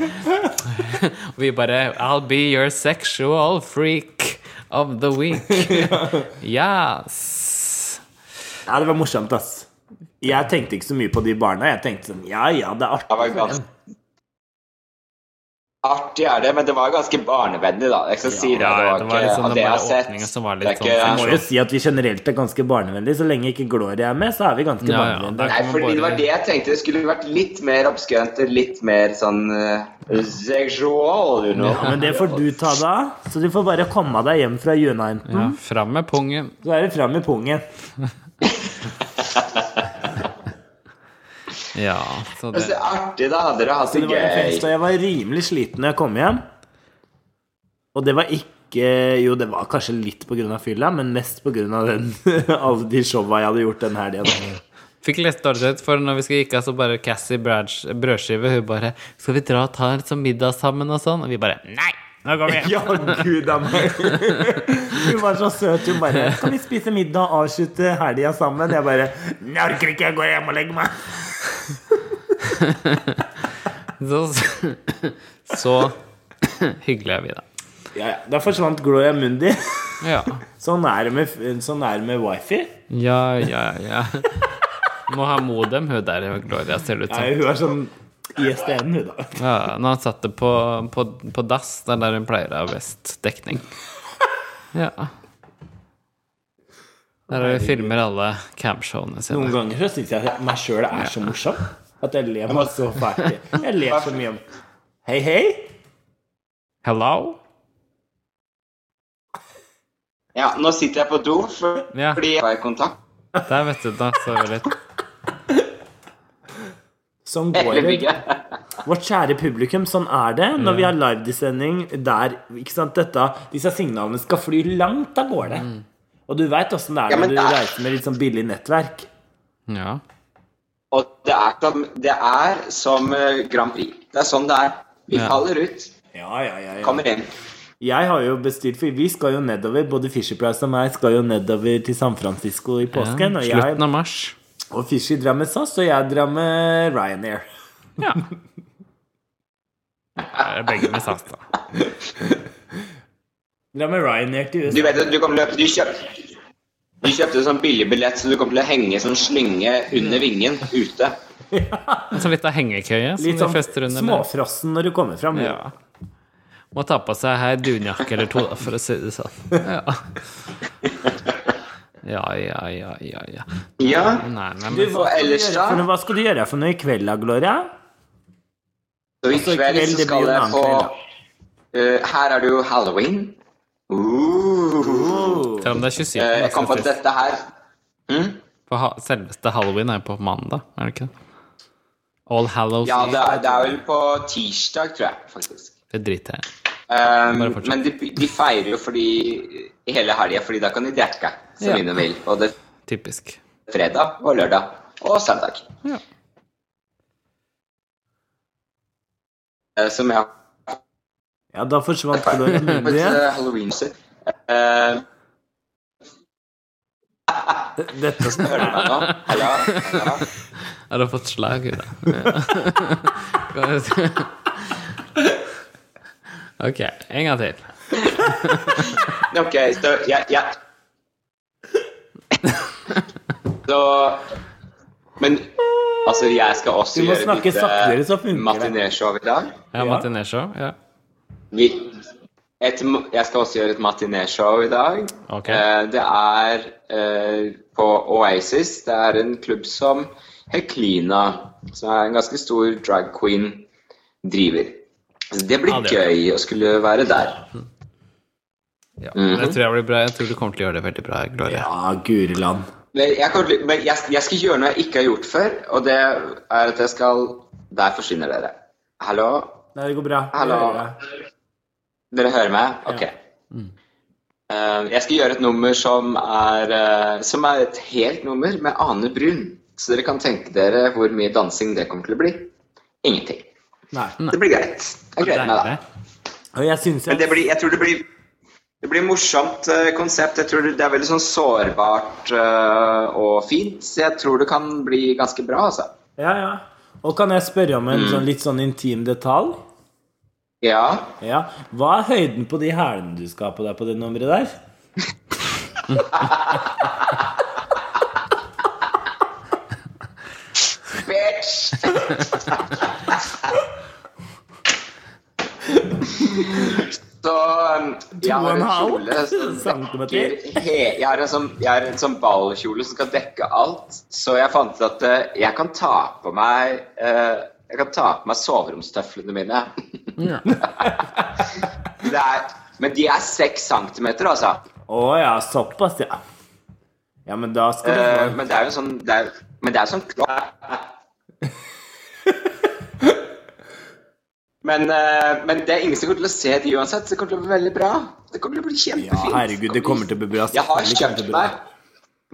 Speaker 2: Og vi bare I'll be your sexual freak of the week. Yes.
Speaker 1: Ja, det var morsomt, ass. Jeg tenkte ikke så mye på de barna. Jeg tenkte sånn Ja, ja, det er
Speaker 3: Det
Speaker 1: artig.
Speaker 3: var ganske Artig er det, men det var ganske barnevennlig, da. Jeg skal si det.
Speaker 2: Ja,
Speaker 3: det
Speaker 2: det
Speaker 3: var
Speaker 2: var
Speaker 3: ikke,
Speaker 2: liksom
Speaker 3: av det
Speaker 2: den
Speaker 3: jeg
Speaker 2: bare
Speaker 3: har sett.
Speaker 2: åpningen som var
Speaker 3: det er
Speaker 2: litt
Speaker 3: ikke,
Speaker 2: sånn
Speaker 1: Jeg må jo si at vi generelt er ganske barnevennlige. Så lenge ikke Gloria er med, så er vi ganske
Speaker 2: Ja, ja,
Speaker 1: barnevennlige.
Speaker 2: det
Speaker 3: Nei,
Speaker 2: Man
Speaker 3: fordi det
Speaker 2: bare-
Speaker 3: var det jeg tenkte. Det skulle vært litt mer obskønt, litt mer sånn eh, sexual, you know.
Speaker 1: Ja, men det får du ta deg av. Så du får bare komme deg hjem fra Uniten.
Speaker 2: Ja, fram med pungen.
Speaker 1: Så er det fram med pungen.
Speaker 2: Ja, så det
Speaker 3: Men så artig, da. Dere har hatt
Speaker 1: Det
Speaker 3: det
Speaker 1: var en fest,
Speaker 3: gøy.
Speaker 1: og jeg var rimelig sliten når jeg kom hjem. Og det var ikke Jo, det var kanskje litt pga. fylla, men mest pga. alle de showa jeg hadde gjort den helgen.
Speaker 2: Fikk litt dårlig ut, for når vi skulle gikk av, så bare Cassie Brads brødskive, hun bare 'Skal vi dra og ta en sånn middag sammen?' og sånn. Og vi bare 'Nei, nå går vi hjem'.
Speaker 1: Ja, gud a meg. Hun var så søt. Hun bare 'Kan vi spise middag og avslutte helga sammen?' Jeg bare 'Jeg orker ikke, jeg går hjem og legger meg'.
Speaker 2: Så, så hyggelig er vi, da.
Speaker 1: Ja, ja. Da forsvant Gloria Mundi.
Speaker 2: Ja.
Speaker 1: Sånn er det med, sånn er det med wifi.
Speaker 2: ja, ja, ja. Må ha modem, hun der Gloria, ser det ut som.
Speaker 1: Nei, hun er sånn ISDN, hun, da.
Speaker 2: Ja, når han satt det på, på, på dass, det er der hun pleier å ha best dekning. Ja. Der hun filmer alle campshowene
Speaker 1: Noen
Speaker 2: sine.
Speaker 1: ganger så syns jeg meg sjøl er så morsom. At jeg ler meg så fælt. Jeg ler så mye om Hei, hei.
Speaker 2: Hello?
Speaker 3: Ja, nå sitter jeg på do for,
Speaker 2: Ja.
Speaker 3: fordi jeg var i kontakt.
Speaker 2: Der, vet du, da så vi litt.
Speaker 1: Sånn går
Speaker 3: Hele
Speaker 1: det.
Speaker 3: bygget.
Speaker 1: Vårt kjære publikum, sånn er det når vi har livedesending der ikke sant, dette, disse signalene skal fly langt av gårde. Og du veit åssen det
Speaker 3: Ja,
Speaker 1: er når
Speaker 3: men
Speaker 1: du
Speaker 3: det er-
Speaker 1: reiser med litt sånn billig nettverk.
Speaker 2: Ja.
Speaker 3: Og det er som, det er som eh, Grand Prix. Det er sånn det er. Vi
Speaker 2: Ja.
Speaker 3: faller ut,
Speaker 1: Ja, ja, ja, ja.
Speaker 3: kommer inn.
Speaker 1: Jeg har jo bestilt, for vi skal jo nedover. Både Fisher Price og meg skal jo nedover til San Francisco i påsken. Og,
Speaker 2: Slutten
Speaker 1: jeg,
Speaker 2: av mars.
Speaker 1: og Fisher drar med SAS, og jeg drar med Ryanair.
Speaker 2: Ja. Er begge med SAS, da.
Speaker 1: Drar med Ryanair til USA.
Speaker 3: Du vet at du kommer til å du kjøp, du kjøpte sånn billigbillett, så du kommer til å henge sånn slynge under vingen ute.
Speaker 2: En sånn lita hengekøye som
Speaker 1: Litt
Speaker 2: de
Speaker 1: sånn
Speaker 2: fester under. med.
Speaker 1: småfrossen når du kommer fram.
Speaker 2: Ja. Må ta på seg her dunjakke eller to, da, for å si det sånn. Ja. Ja, ja, ja, ja, ja.
Speaker 3: Ja.
Speaker 2: Nei, nei,
Speaker 1: Du,
Speaker 2: men
Speaker 1: hva, skal du
Speaker 3: ellers
Speaker 1: gjøre
Speaker 3: da?
Speaker 1: for noe, hva skal du gjøre for noe i kveld, da, Gloria?
Speaker 3: Så i
Speaker 1: Altså, i kveld,
Speaker 3: kveld så
Speaker 1: det blir jo
Speaker 3: skal
Speaker 1: en
Speaker 3: jeg
Speaker 1: annen
Speaker 3: få
Speaker 1: kveld,
Speaker 3: Eh, Her er det jo halloween.
Speaker 1: Uh-huh.
Speaker 3: Uh.
Speaker 2: selv om det er 27.
Speaker 3: Eh, Jeg kom på at
Speaker 2: faktisk.
Speaker 3: dette her Hm?
Speaker 2: På ha- selveste halloween er jo på mandag, er det ikke det? All Hallows
Speaker 3: Ja, det
Speaker 2: det,
Speaker 3: er, det er vel på tirsdag, tror jeg, faktisk.
Speaker 2: driter jeg i.
Speaker 3: Um,
Speaker 2: Bare fortsett.
Speaker 3: men de, de feirer jo fordi hele helga, fordi da kan de drikke så
Speaker 2: Ja.
Speaker 3: mye de vil. Og det er
Speaker 2: Typisk.
Speaker 3: fredag og lørdag og søndag.
Speaker 2: Ja.
Speaker 3: Eh, Som jeg har
Speaker 1: Ja, da forsvant Gloria
Speaker 3: på
Speaker 1: Mundi.
Speaker 3: eh, halloween. Uh,
Speaker 1: Dette
Speaker 3: hører du meg nå? Hello? Hello?
Speaker 2: Har du fått slag i det? Ja. Ok, en gang til.
Speaker 3: Ok, så jeg, jeg. Så Men altså, jeg skal også
Speaker 1: Du må
Speaker 3: gjøre
Speaker 1: snakke saktere, så funker det.
Speaker 3: matinéshow i dag.
Speaker 2: Ja,
Speaker 1: Ja.
Speaker 2: Martineshow. Ja.
Speaker 3: Vi, et, jeg skal også gjøre et matinéshow i dag.
Speaker 2: Ok.
Speaker 3: Eh, det er eh, på Oasis. Det er en klubb som Heklina, som er en ganske stor drag queen, driver. Så det blir
Speaker 2: Ja, det er
Speaker 3: gøy å skulle være der.
Speaker 2: Ja, Det tror jeg blir bra. Jeg tror du kommer til å gjøre det veldig bra, Gloria.
Speaker 1: Ja, guri land.
Speaker 3: Men jeg, kommer til- men jeg, jeg skal gjøre noe jeg ikke har gjort før, og det er at jeg skal Der forsvinner dere. Hallo?
Speaker 1: Nei, det går bra. Vi
Speaker 3: Hallo.
Speaker 1: hører deg.
Speaker 3: Dere hører meg? Ok. Eh, jeg skal gjøre et nummer som er, eh, som er et helt nummer med Ane Brun. Så dere kan tenke dere hvor mye dansing det kommer til å bli. Ingenting.
Speaker 1: Nei.
Speaker 3: Det blir greit. Jeg gleder meg, da.
Speaker 2: Deilig.
Speaker 1: Og jeg syns
Speaker 3: Men det
Speaker 1: jeg
Speaker 3: blir, jeg tror det blir det blir morsomt eh, konsept. Jeg tror det, det er veldig sånn sårbart eh, og fint. Så jeg tror det kan bli ganske bra, altså.
Speaker 1: Ja, ja. Og kan jeg spørre om
Speaker 3: Mm.
Speaker 1: en sånn litt sånn intim detalj?
Speaker 3: Ja.
Speaker 1: Ja. Hva er høyden på de hælene du skal ha på deg på det nummeret der?
Speaker 3: Bitch! så um, jeg
Speaker 1: og
Speaker 3: har
Speaker 1: en
Speaker 3: en
Speaker 1: halv
Speaker 3: kjole som
Speaker 1: centimeter.
Speaker 3: dekker he, jeg, har en sånn, jeg har en sånn ballkjole som skal dekke alt. Så jeg fant ut at eh, jeg kan ta på meg eh, jeg kan ta på meg soveromstøflene mine. det er, men de er seks centimeter, altså.
Speaker 1: Å ja, såpass, ja. Ja, men da skal du
Speaker 3: Eh,
Speaker 1: få
Speaker 3: men det er jo sånn det er, Men det er sånn kropp Men, eh, men det er ingen som kommer til å se de uansett. så Det kommer til å bli veldig bra. Det kommer til å bli
Speaker 1: Ja,
Speaker 3: kjempefint.
Speaker 1: herregud, det kommer til å bli bra.
Speaker 3: Jeg
Speaker 1: Det
Speaker 3: har
Speaker 1: kommer til
Speaker 3: kjøpt
Speaker 1: å bli bra.
Speaker 3: meg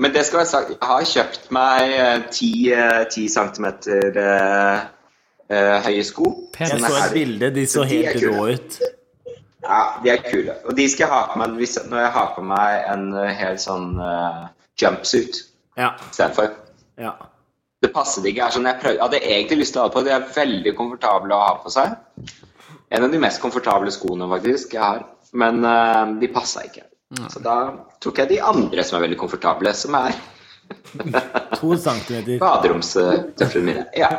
Speaker 3: Men det skal være sagt, jeg har kjøpt meg eh, ti, eh, ti centimeter eh, eh, høye sko.
Speaker 2: Pent.
Speaker 1: Jeg
Speaker 3: Som er
Speaker 1: så et
Speaker 3: herlige.
Speaker 1: bilde, de så
Speaker 3: Så de er
Speaker 1: helt
Speaker 3: kule.
Speaker 1: rå ut.
Speaker 3: Ja, de er kule. Og de skal jeg ha på meg hvis, når jeg har på meg en eh, hel sånn eh, jumpsuit
Speaker 1: Ja.
Speaker 3: istedenfor.
Speaker 1: ja.
Speaker 3: Det passet ikke. Jeg, er sånn, jeg, prøvde, jeg hadde egentlig lyst til å ha det på, de er veldig komfortable å ha på seg. En av de mest komfortable skoene faktisk jeg har, men eh, de passa ikke. Så da tok jeg de andre som er veldig komfortable, som er
Speaker 1: To centimeter.
Speaker 3: baderomstøflene mine. Ja.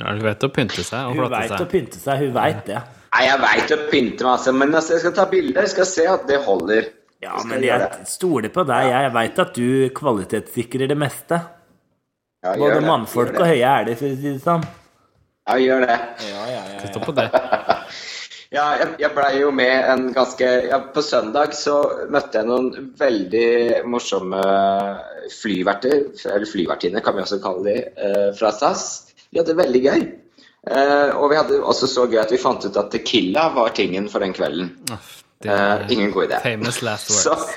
Speaker 2: Ja, du vet å pynte seg og
Speaker 1: Hun
Speaker 2: flotte
Speaker 1: veit å
Speaker 2: seg.
Speaker 1: pynte seg, hun veit det.
Speaker 3: Nei, jeg veit å pynte meg, altså, men altså, jeg skal ta bilder. Jeg skal se at det holder.
Speaker 1: Ja,
Speaker 3: Jeg skal
Speaker 1: men
Speaker 3: gjøre
Speaker 1: jeg
Speaker 3: det.
Speaker 1: stoler på deg. Jeg veit at du kvalitetssikrer det meste.
Speaker 3: Ja, gjør
Speaker 1: Både
Speaker 3: det.
Speaker 1: mannfolk og
Speaker 3: Gjør det.
Speaker 1: høye hæler, for å si det sånn.
Speaker 3: Ja, gjør det.
Speaker 1: Ja, ja, ja,
Speaker 2: Stå på det.
Speaker 3: Ja, jeg, jeg blei jo med en ganske ja, På søndag så møtte jeg noen veldig morsomme flyverter, eller flyvertinner kan vi også kalle de, eh, fra SAS. Vi hadde det veldig gøy. Eh, og vi hadde også så gøy at vi fant ut at Tequila var tingen for den kvelden.
Speaker 2: Uff,
Speaker 3: Eh,
Speaker 2: det er
Speaker 3: ingen god idé.
Speaker 2: famous last
Speaker 3: Så
Speaker 2: words.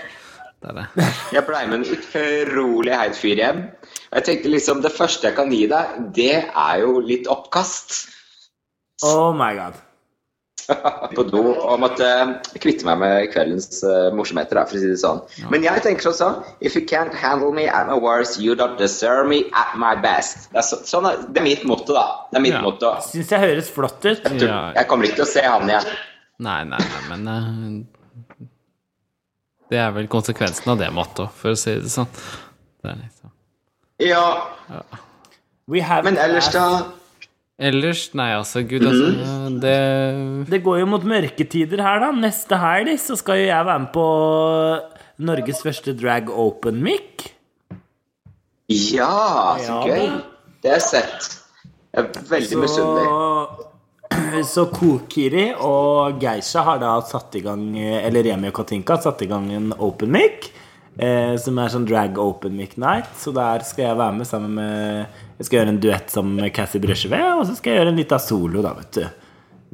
Speaker 2: Det er det.
Speaker 3: jeg blei med en utrolig heit fyr hjem. Og jeg tenkte liksom det første jeg kan gi deg, det er jo litt oppkast
Speaker 1: Oh my god.
Speaker 3: på do og måtte eh, kvitte meg med kveldens eh, morsomheter, da, for å si det sånn. Men jeg tenker også If you can't handle me at my worst, you don't deserve me at my best. Det er, så, sånn er, det er mitt motto, da. Det er mitt
Speaker 2: Ja.
Speaker 3: motto.
Speaker 1: Syns jeg høres flott ut.
Speaker 3: Jeg
Speaker 2: Ja.
Speaker 3: tror- Jeg kommer ikke til å se han igjen.
Speaker 2: Nei, nei, nei, men eh, Det er vel konsekvensen av det mottoet, for å si det sånn. Det er liksom.
Speaker 3: Ja,
Speaker 1: We have
Speaker 3: men ellers, da
Speaker 2: Ellers, nei, altså, gud, altså Det
Speaker 1: Det går jo mot mørketider her, da. Neste helg så skal jo jeg være med på Norges første drag open mic.
Speaker 3: Ja, så
Speaker 1: Ja,
Speaker 3: gøy.
Speaker 1: da.
Speaker 3: Det har jeg sett. Jeg er veldig misunnelig.
Speaker 1: Så Kokiri og Geisha har da satt i gang Eller Remi og Katinka har satt i gang en open mic. Eh, som er sånn drag open mic night. Så der skal jeg være med sammen med Jeg skal gjøre en duett sammen med Cassie Brøsjeve, og så skal jeg gjøre en liten solo, da, vet du.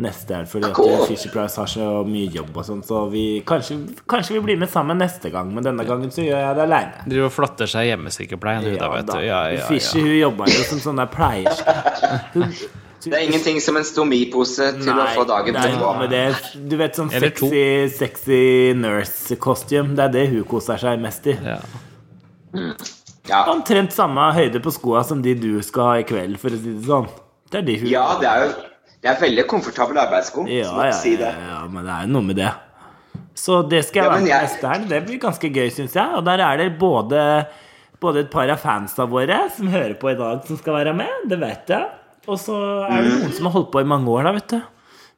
Speaker 1: Neste helg, fordi at
Speaker 3: Ah,
Speaker 1: eh,
Speaker 3: Cool.
Speaker 1: Fisher Price har så mye jobb og sånn, så vi kanskje, kanskje vi blir med sammen neste gang, men denne gangen så gjør jeg det aleine.
Speaker 2: driver og flotter seg i hjemmesykepleien, hun da, vet du. Ja, ja,
Speaker 1: Fisher
Speaker 2: ja.
Speaker 1: hun jobber jo som sånn der pleierske. Hun,
Speaker 3: Det er ingenting som en stomipose til å få dagen
Speaker 1: det er
Speaker 3: til å
Speaker 1: noe
Speaker 3: gå.
Speaker 1: med det. Du vet sånn
Speaker 2: Eller to.
Speaker 1: sexy, sexy nurse-costume. Det er det hun koser seg mest i.
Speaker 2: ja.
Speaker 3: Ja.
Speaker 1: Omtrent samme høyde på skoa som de du skal ha i kveld, for å si det sånn. Det er de hun
Speaker 3: ja, det er jo det er veldig komfortabel arbeidssko.
Speaker 1: ja, ja,
Speaker 3: så må du si
Speaker 1: ja,
Speaker 3: det.
Speaker 1: ja, men det er jo noe med det. Så det skal jeg
Speaker 3: Ja,
Speaker 1: være
Speaker 3: men
Speaker 1: med på
Speaker 3: jeg-
Speaker 1: neste helg. Det blir ganske gøy, syns jeg. Og der er det både, både et par av fansa våre som hører på i dag, som skal være med. Det vet jeg. Og så er det
Speaker 3: Mm.
Speaker 1: noen som har holdt på i mange år, da, vet du.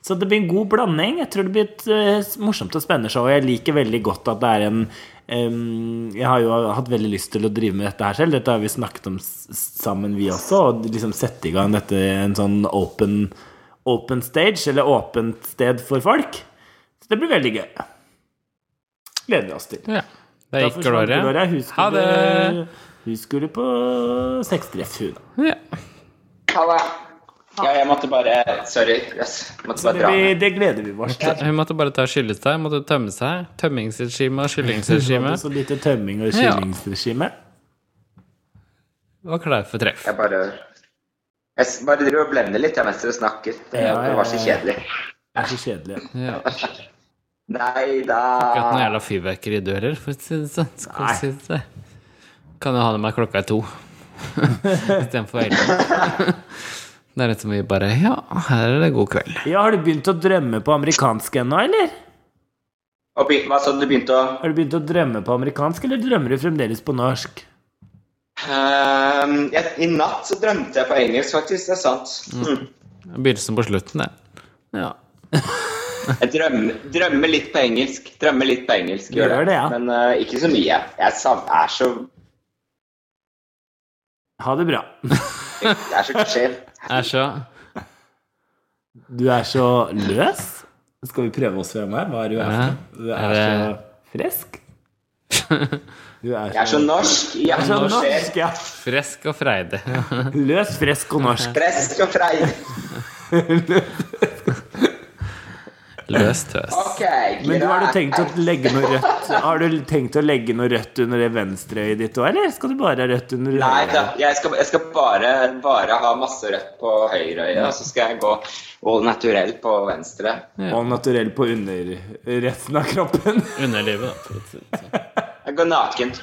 Speaker 1: Så det blir en god blanding. Jeg tror det blir et eh, morsomt og spennende show. Og jeg liker veldig godt at det er en em, Jeg har jo hatt veldig lyst til å drive med dette her selv. Dette har vi snakket om s- sammen, vi også. Og liksom sette i gang dette en sånn open, open stage, eller åpent sted for folk. Så det blir veldig gøy. Gleder vi oss til.
Speaker 2: ja. Det gikk Gloria.
Speaker 1: Hun
Speaker 2: Ha
Speaker 1: skulle,
Speaker 2: det!
Speaker 1: Hun skulle på sextreff, hun. da.
Speaker 2: Ja.
Speaker 3: Ha det. Ja, jeg måtte bare Sorry. Yes. Jeg måtte bare
Speaker 1: Det,
Speaker 3: dra.
Speaker 1: blir- det gleder vi oss til.
Speaker 2: Hun måtte bare ta og skylle seg. Måtte tømme seg. Tømmingsregime og skyllingsregime.
Speaker 1: Så lite tømming og kyllingsregime.
Speaker 2: Var klar for treff.
Speaker 3: Jeg bare Jeg s- bare driver og blender litt jeg, mens dere snakker. Det,
Speaker 1: Ja, ja,
Speaker 3: det var så
Speaker 1: ja.
Speaker 3: kjedelig.
Speaker 1: Det er så kjedelig.
Speaker 2: Ja.
Speaker 3: Nei
Speaker 2: Akkurat noen
Speaker 3: da
Speaker 2: jævla fyrverkeridører, for å si det sånn. Skal
Speaker 1: Nei.
Speaker 2: vi si det. Kan jo ha det med klokka er to istedenfor elleve. Det er litt så mye bare Ja, her er det god kveld.
Speaker 1: Ja, har du begynt å drømme på amerikansk ennå, eller?
Speaker 3: Og be, Hva sa du du begynte å
Speaker 1: Har du begynt å drømme på amerikansk, eller drømmer du fremdeles på norsk?
Speaker 3: Ehm, jeg, I natt så drømte jeg på engelsk, faktisk. Det er sant. Mm.
Speaker 2: Begynnelsen på slutten, det. Ja.
Speaker 3: Jeg drømmer, drømmer litt på engelsk. Drømmer litt på engelsk, gjør
Speaker 1: Gjør
Speaker 3: jeg.
Speaker 1: det, ja.
Speaker 3: Men eh, ikke så mye. Jeg sam- er så,
Speaker 1: Ha det bra.
Speaker 3: jeg er så skjev.
Speaker 2: Er så
Speaker 1: Du er så løs. Skal vi prøve oss frem her? Hva er du er for? noe? Du er så frisk. Du er
Speaker 3: Jeg er så
Speaker 1: så,
Speaker 3: norsk. Jeg er
Speaker 1: så
Speaker 3: så skjev.
Speaker 1: norsk, ja.
Speaker 2: frisk og freidig.
Speaker 1: Løs, frisk og norsk.
Speaker 3: Frisk og freidig.
Speaker 2: Løs tøs.
Speaker 3: Ok,
Speaker 1: Men du, har du
Speaker 3: greit.
Speaker 1: tenkt å legge noe rødt Har du tenkt å legge noe rødt under det venstre øyet ditt òg, eller skal du bare ha rødt under
Speaker 3: Nei da,
Speaker 1: høyre?
Speaker 3: jeg skal, jeg skal bare, bare ha masse rødt på høyre øye, og så skal jeg gå all naturell på venstre.
Speaker 1: Og naturell på under resten av kroppen?
Speaker 2: Underlivet, da. For å si det sånn.
Speaker 3: Jeg går naken.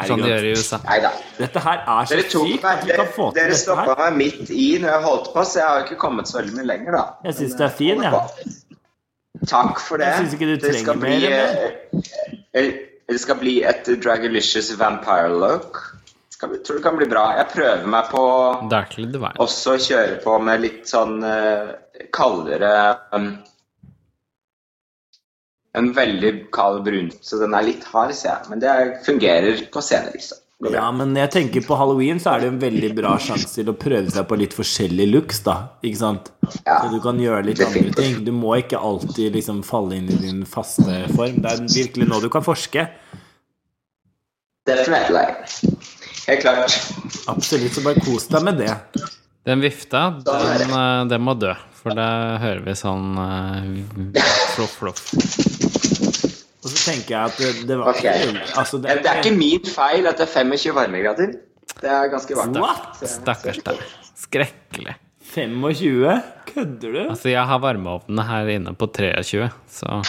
Speaker 2: Sånn de
Speaker 1: Herregud.
Speaker 2: gjør i USA.
Speaker 3: Nei da.
Speaker 1: Dette her er så
Speaker 3: Dere tok
Speaker 1: sykt
Speaker 3: meg,
Speaker 1: at vi
Speaker 3: dere,
Speaker 1: kan få til
Speaker 3: dere
Speaker 1: dette
Speaker 3: stoppa
Speaker 1: her.
Speaker 3: meg midt i når jeg holdt på, så jeg har jo ikke kommet så veldig mye lenger, da.
Speaker 1: Jeg syns det er fin, jeg. Ja.
Speaker 3: Takk for det.
Speaker 1: Jeg synes ikke du
Speaker 3: det skal
Speaker 1: trenger
Speaker 3: bli,
Speaker 1: mer,
Speaker 3: eh, eh, Det skal bli et Dragalicious vampire look. Skal bli, tror det kan bli bra. Jeg prøver meg på
Speaker 2: Darkly Divine.
Speaker 3: også å kjøre på med litt sånn eh, kaldere um, En veldig kald brun, så den er litt hard, ser jeg. Men det fungerer på scenen, liksom. Går bra.
Speaker 1: Ja, men jeg tenker på halloween så er det en veldig bra sjanse til å prøve seg på litt forskjellige looks, da. Ikke sant?
Speaker 3: Ja.
Speaker 1: Så du kan gjøre litt andre
Speaker 3: Definitivt.
Speaker 1: ting. Du må ikke alltid liksom falle inn i din faste form. Det er virkelig nå du kan forske.
Speaker 3: Definitely. Helt klart.
Speaker 1: Absolutt, så bare kos deg med det.
Speaker 2: Den vifta, den, eh, den må dø. For da hører vi sånn eh, floff, floff.
Speaker 1: Og så tenker jeg at det, det var
Speaker 3: Ok.
Speaker 1: altså,
Speaker 3: Det er ikke min feil at det er 25 varmegrader. Det er ganske varmt.
Speaker 1: What?!
Speaker 2: Stakkars deg. Skrekkelig.
Speaker 1: 25? Kødder du?
Speaker 2: Altså, jeg har varmeovnene her inne på 23, så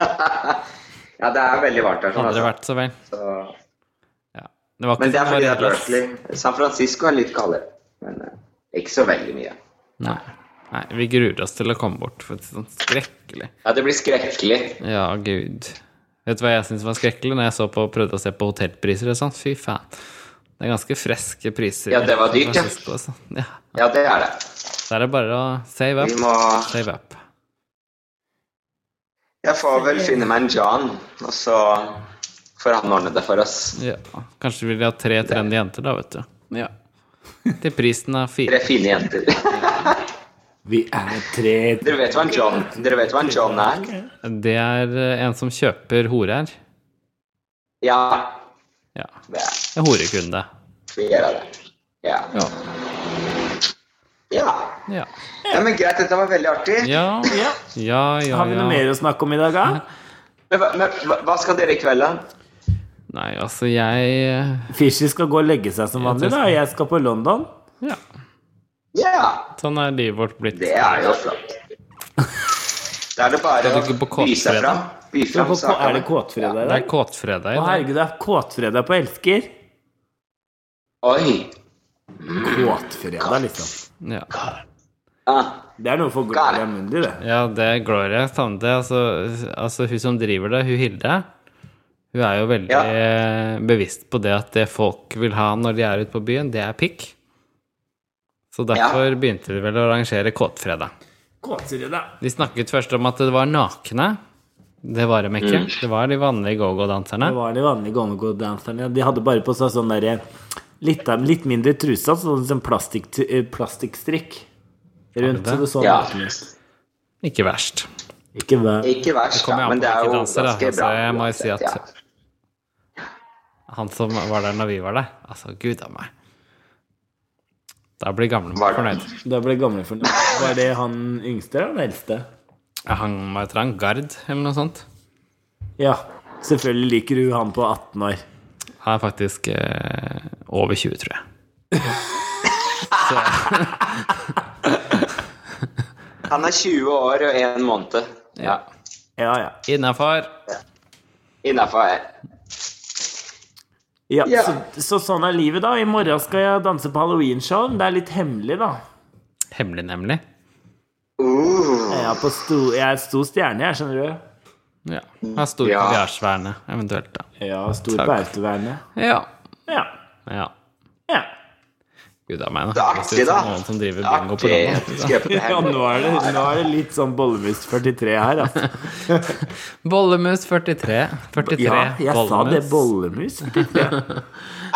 Speaker 3: Ja, det er veldig varmt her.
Speaker 2: det
Speaker 3: Sånn,
Speaker 2: hadde det
Speaker 3: altså.
Speaker 2: vært så vel.
Speaker 3: så...
Speaker 2: Ja. Det var ikke
Speaker 3: Men det er
Speaker 2: så
Speaker 3: fordi det er
Speaker 2: variabelt.
Speaker 3: Berkeley. San Francisco er litt kaldere. Men eh, ikke så veldig mye.
Speaker 2: Nei. Nei, vi gruer oss til å komme bort. For det er sånn skrekkelig.
Speaker 3: Ja, det blir skrekkelig.
Speaker 2: Ja, gud. Vet du hva jeg syns var skrekkelig når jeg så på, prøvde å se på hotellpriser og sånn? Fy faen. Det er ganske freske priser.
Speaker 3: Ja, det var
Speaker 2: i
Speaker 3: dyrt,
Speaker 2: San
Speaker 3: ja.
Speaker 2: Francisco, altså. ja.
Speaker 3: Ja, det er det.
Speaker 2: Da er det bare å save
Speaker 3: Vi
Speaker 2: up.
Speaker 3: må
Speaker 2: Save up.
Speaker 3: Jeg får vel finne meg en John, og så får han ordne det for oss.
Speaker 2: Ja. Kanskje du vil ha tre trendy jenter, da, vet du. Ja. Til prisen av fire.
Speaker 3: Tre fine jenter.
Speaker 1: Vi er tre
Speaker 3: Dere vet hva en John, Dere vet hva en John er?
Speaker 2: Det er eh, en som kjøper horer.
Speaker 3: Ja,
Speaker 2: Ja.
Speaker 3: det er
Speaker 2: En horekunde.
Speaker 3: vi gjør det. Ja.
Speaker 2: Ja.
Speaker 3: ja.
Speaker 2: Ja.
Speaker 3: ja men greit, dette var veldig artig.
Speaker 2: Ja,
Speaker 1: Ja.
Speaker 2: ja, ja.
Speaker 1: Har vi noe
Speaker 2: ja.
Speaker 1: mer å snakke om i dag, da?
Speaker 3: Men, hva- men hva- hva skal dere i kveld, da?
Speaker 2: Nei, altså, jeg
Speaker 1: Fishy skal gå og legge seg som vanlig, da. og Jeg skal på London.
Speaker 2: Ja.
Speaker 3: Ja,
Speaker 2: Sånn er livet vårt blitt.
Speaker 3: det er jo flott. Da er det bare
Speaker 2: Skal du ikke på
Speaker 3: å by seg
Speaker 2: Kåtfredag?
Speaker 3: fram. By
Speaker 1: Så
Speaker 3: fram
Speaker 1: på- Er det
Speaker 3: sakene.
Speaker 1: kåtfredag i
Speaker 2: Det er
Speaker 1: dag?
Speaker 2: kåtfredag
Speaker 1: Å
Speaker 2: i dag.
Speaker 1: herregud, det er kåtfredag på Elsker.
Speaker 3: Oi.
Speaker 1: Kåtfredag, liksom.
Speaker 2: Ja.
Speaker 3: Ah.
Speaker 1: Det er noe for Gloria Mundi, det.
Speaker 2: ja, det er Gloria Sande. Altså, altså, hun som driver det, hun Hilde, hun er jo veldig
Speaker 3: Ja.
Speaker 2: eh, bevisst på det at det folk vil ha når de er ute på byen, det er pikk. Så derfor begynte de vel å arrangere kåtfredag.
Speaker 1: Kåtfredag.
Speaker 2: De snakket først om at det var nakne. Det var de ikke.
Speaker 3: Mm.
Speaker 2: Det var de vanlige go-go-danserne.
Speaker 1: Det var de vanlige gonggo-danserne. ja. De hadde bare på seg sånn derre litt, av- litt mindre trusa, sånn som plastikk, eh, plastikkstrikk rundt. Så det så
Speaker 3: Ja.
Speaker 1: naken ut.
Speaker 2: Ikke verst.
Speaker 1: Ikke vær
Speaker 3: Ikke verst,
Speaker 2: kommer
Speaker 3: da,
Speaker 2: an
Speaker 3: men
Speaker 2: på
Speaker 3: det er
Speaker 2: hvilke
Speaker 3: jo
Speaker 2: danser, da.
Speaker 3: ganske
Speaker 2: Altså,
Speaker 3: bra.
Speaker 2: jeg må jo
Speaker 3: uansett,
Speaker 2: si at-
Speaker 3: ja.
Speaker 2: Han som var der når vi var der. Altså, gud a meg. Da blir
Speaker 3: Var
Speaker 2: gamlemann
Speaker 3: det-
Speaker 2: fornøyd.
Speaker 1: Da ble gamle fornøyd. Var det han yngste eller han eldste?
Speaker 2: Jeg hang meg etter han Gard, eller noe sånt.
Speaker 1: Ja. Selvfølgelig liker du han på 18 år.
Speaker 2: Han er faktisk eh, over 20, tror jeg. Så,
Speaker 3: Han er 20 år og 1 måned.
Speaker 2: ja.
Speaker 1: Ja, ja.
Speaker 2: Innafor.
Speaker 3: Innafor eh, her.
Speaker 1: ja,
Speaker 3: Ja.
Speaker 1: Så, så sånn er livet, da. I morgen skal jeg danse på halloweenshow. Det er litt hemmelig, da.
Speaker 2: Hemmelig, nemlig.
Speaker 3: Uh,
Speaker 1: Jeg er, på sto, jeg er stor stjerne, jeg, skjønner du.
Speaker 2: Ja. Har stor
Speaker 3: Ja.
Speaker 2: kaviarsverne, eventuelt, da.
Speaker 1: Ja, stor
Speaker 2: Takk.
Speaker 1: på autovernet.
Speaker 2: Ja.
Speaker 1: Ja.
Speaker 2: ja.
Speaker 1: ja.
Speaker 2: Gud a meg, nå
Speaker 3: det er
Speaker 2: høres det
Speaker 3: artig,
Speaker 2: ut
Speaker 3: da.
Speaker 2: som noen som driver bingo på
Speaker 3: Artig.
Speaker 2: landet.
Speaker 3: Skal jeg på det her?
Speaker 1: Ja, nå er det, nå er det litt sånn Bollemus 43 her, altså.
Speaker 2: Bollemus 43. 43
Speaker 1: Ja, jeg sa det.
Speaker 2: bollemus.
Speaker 1: Bollemus 43.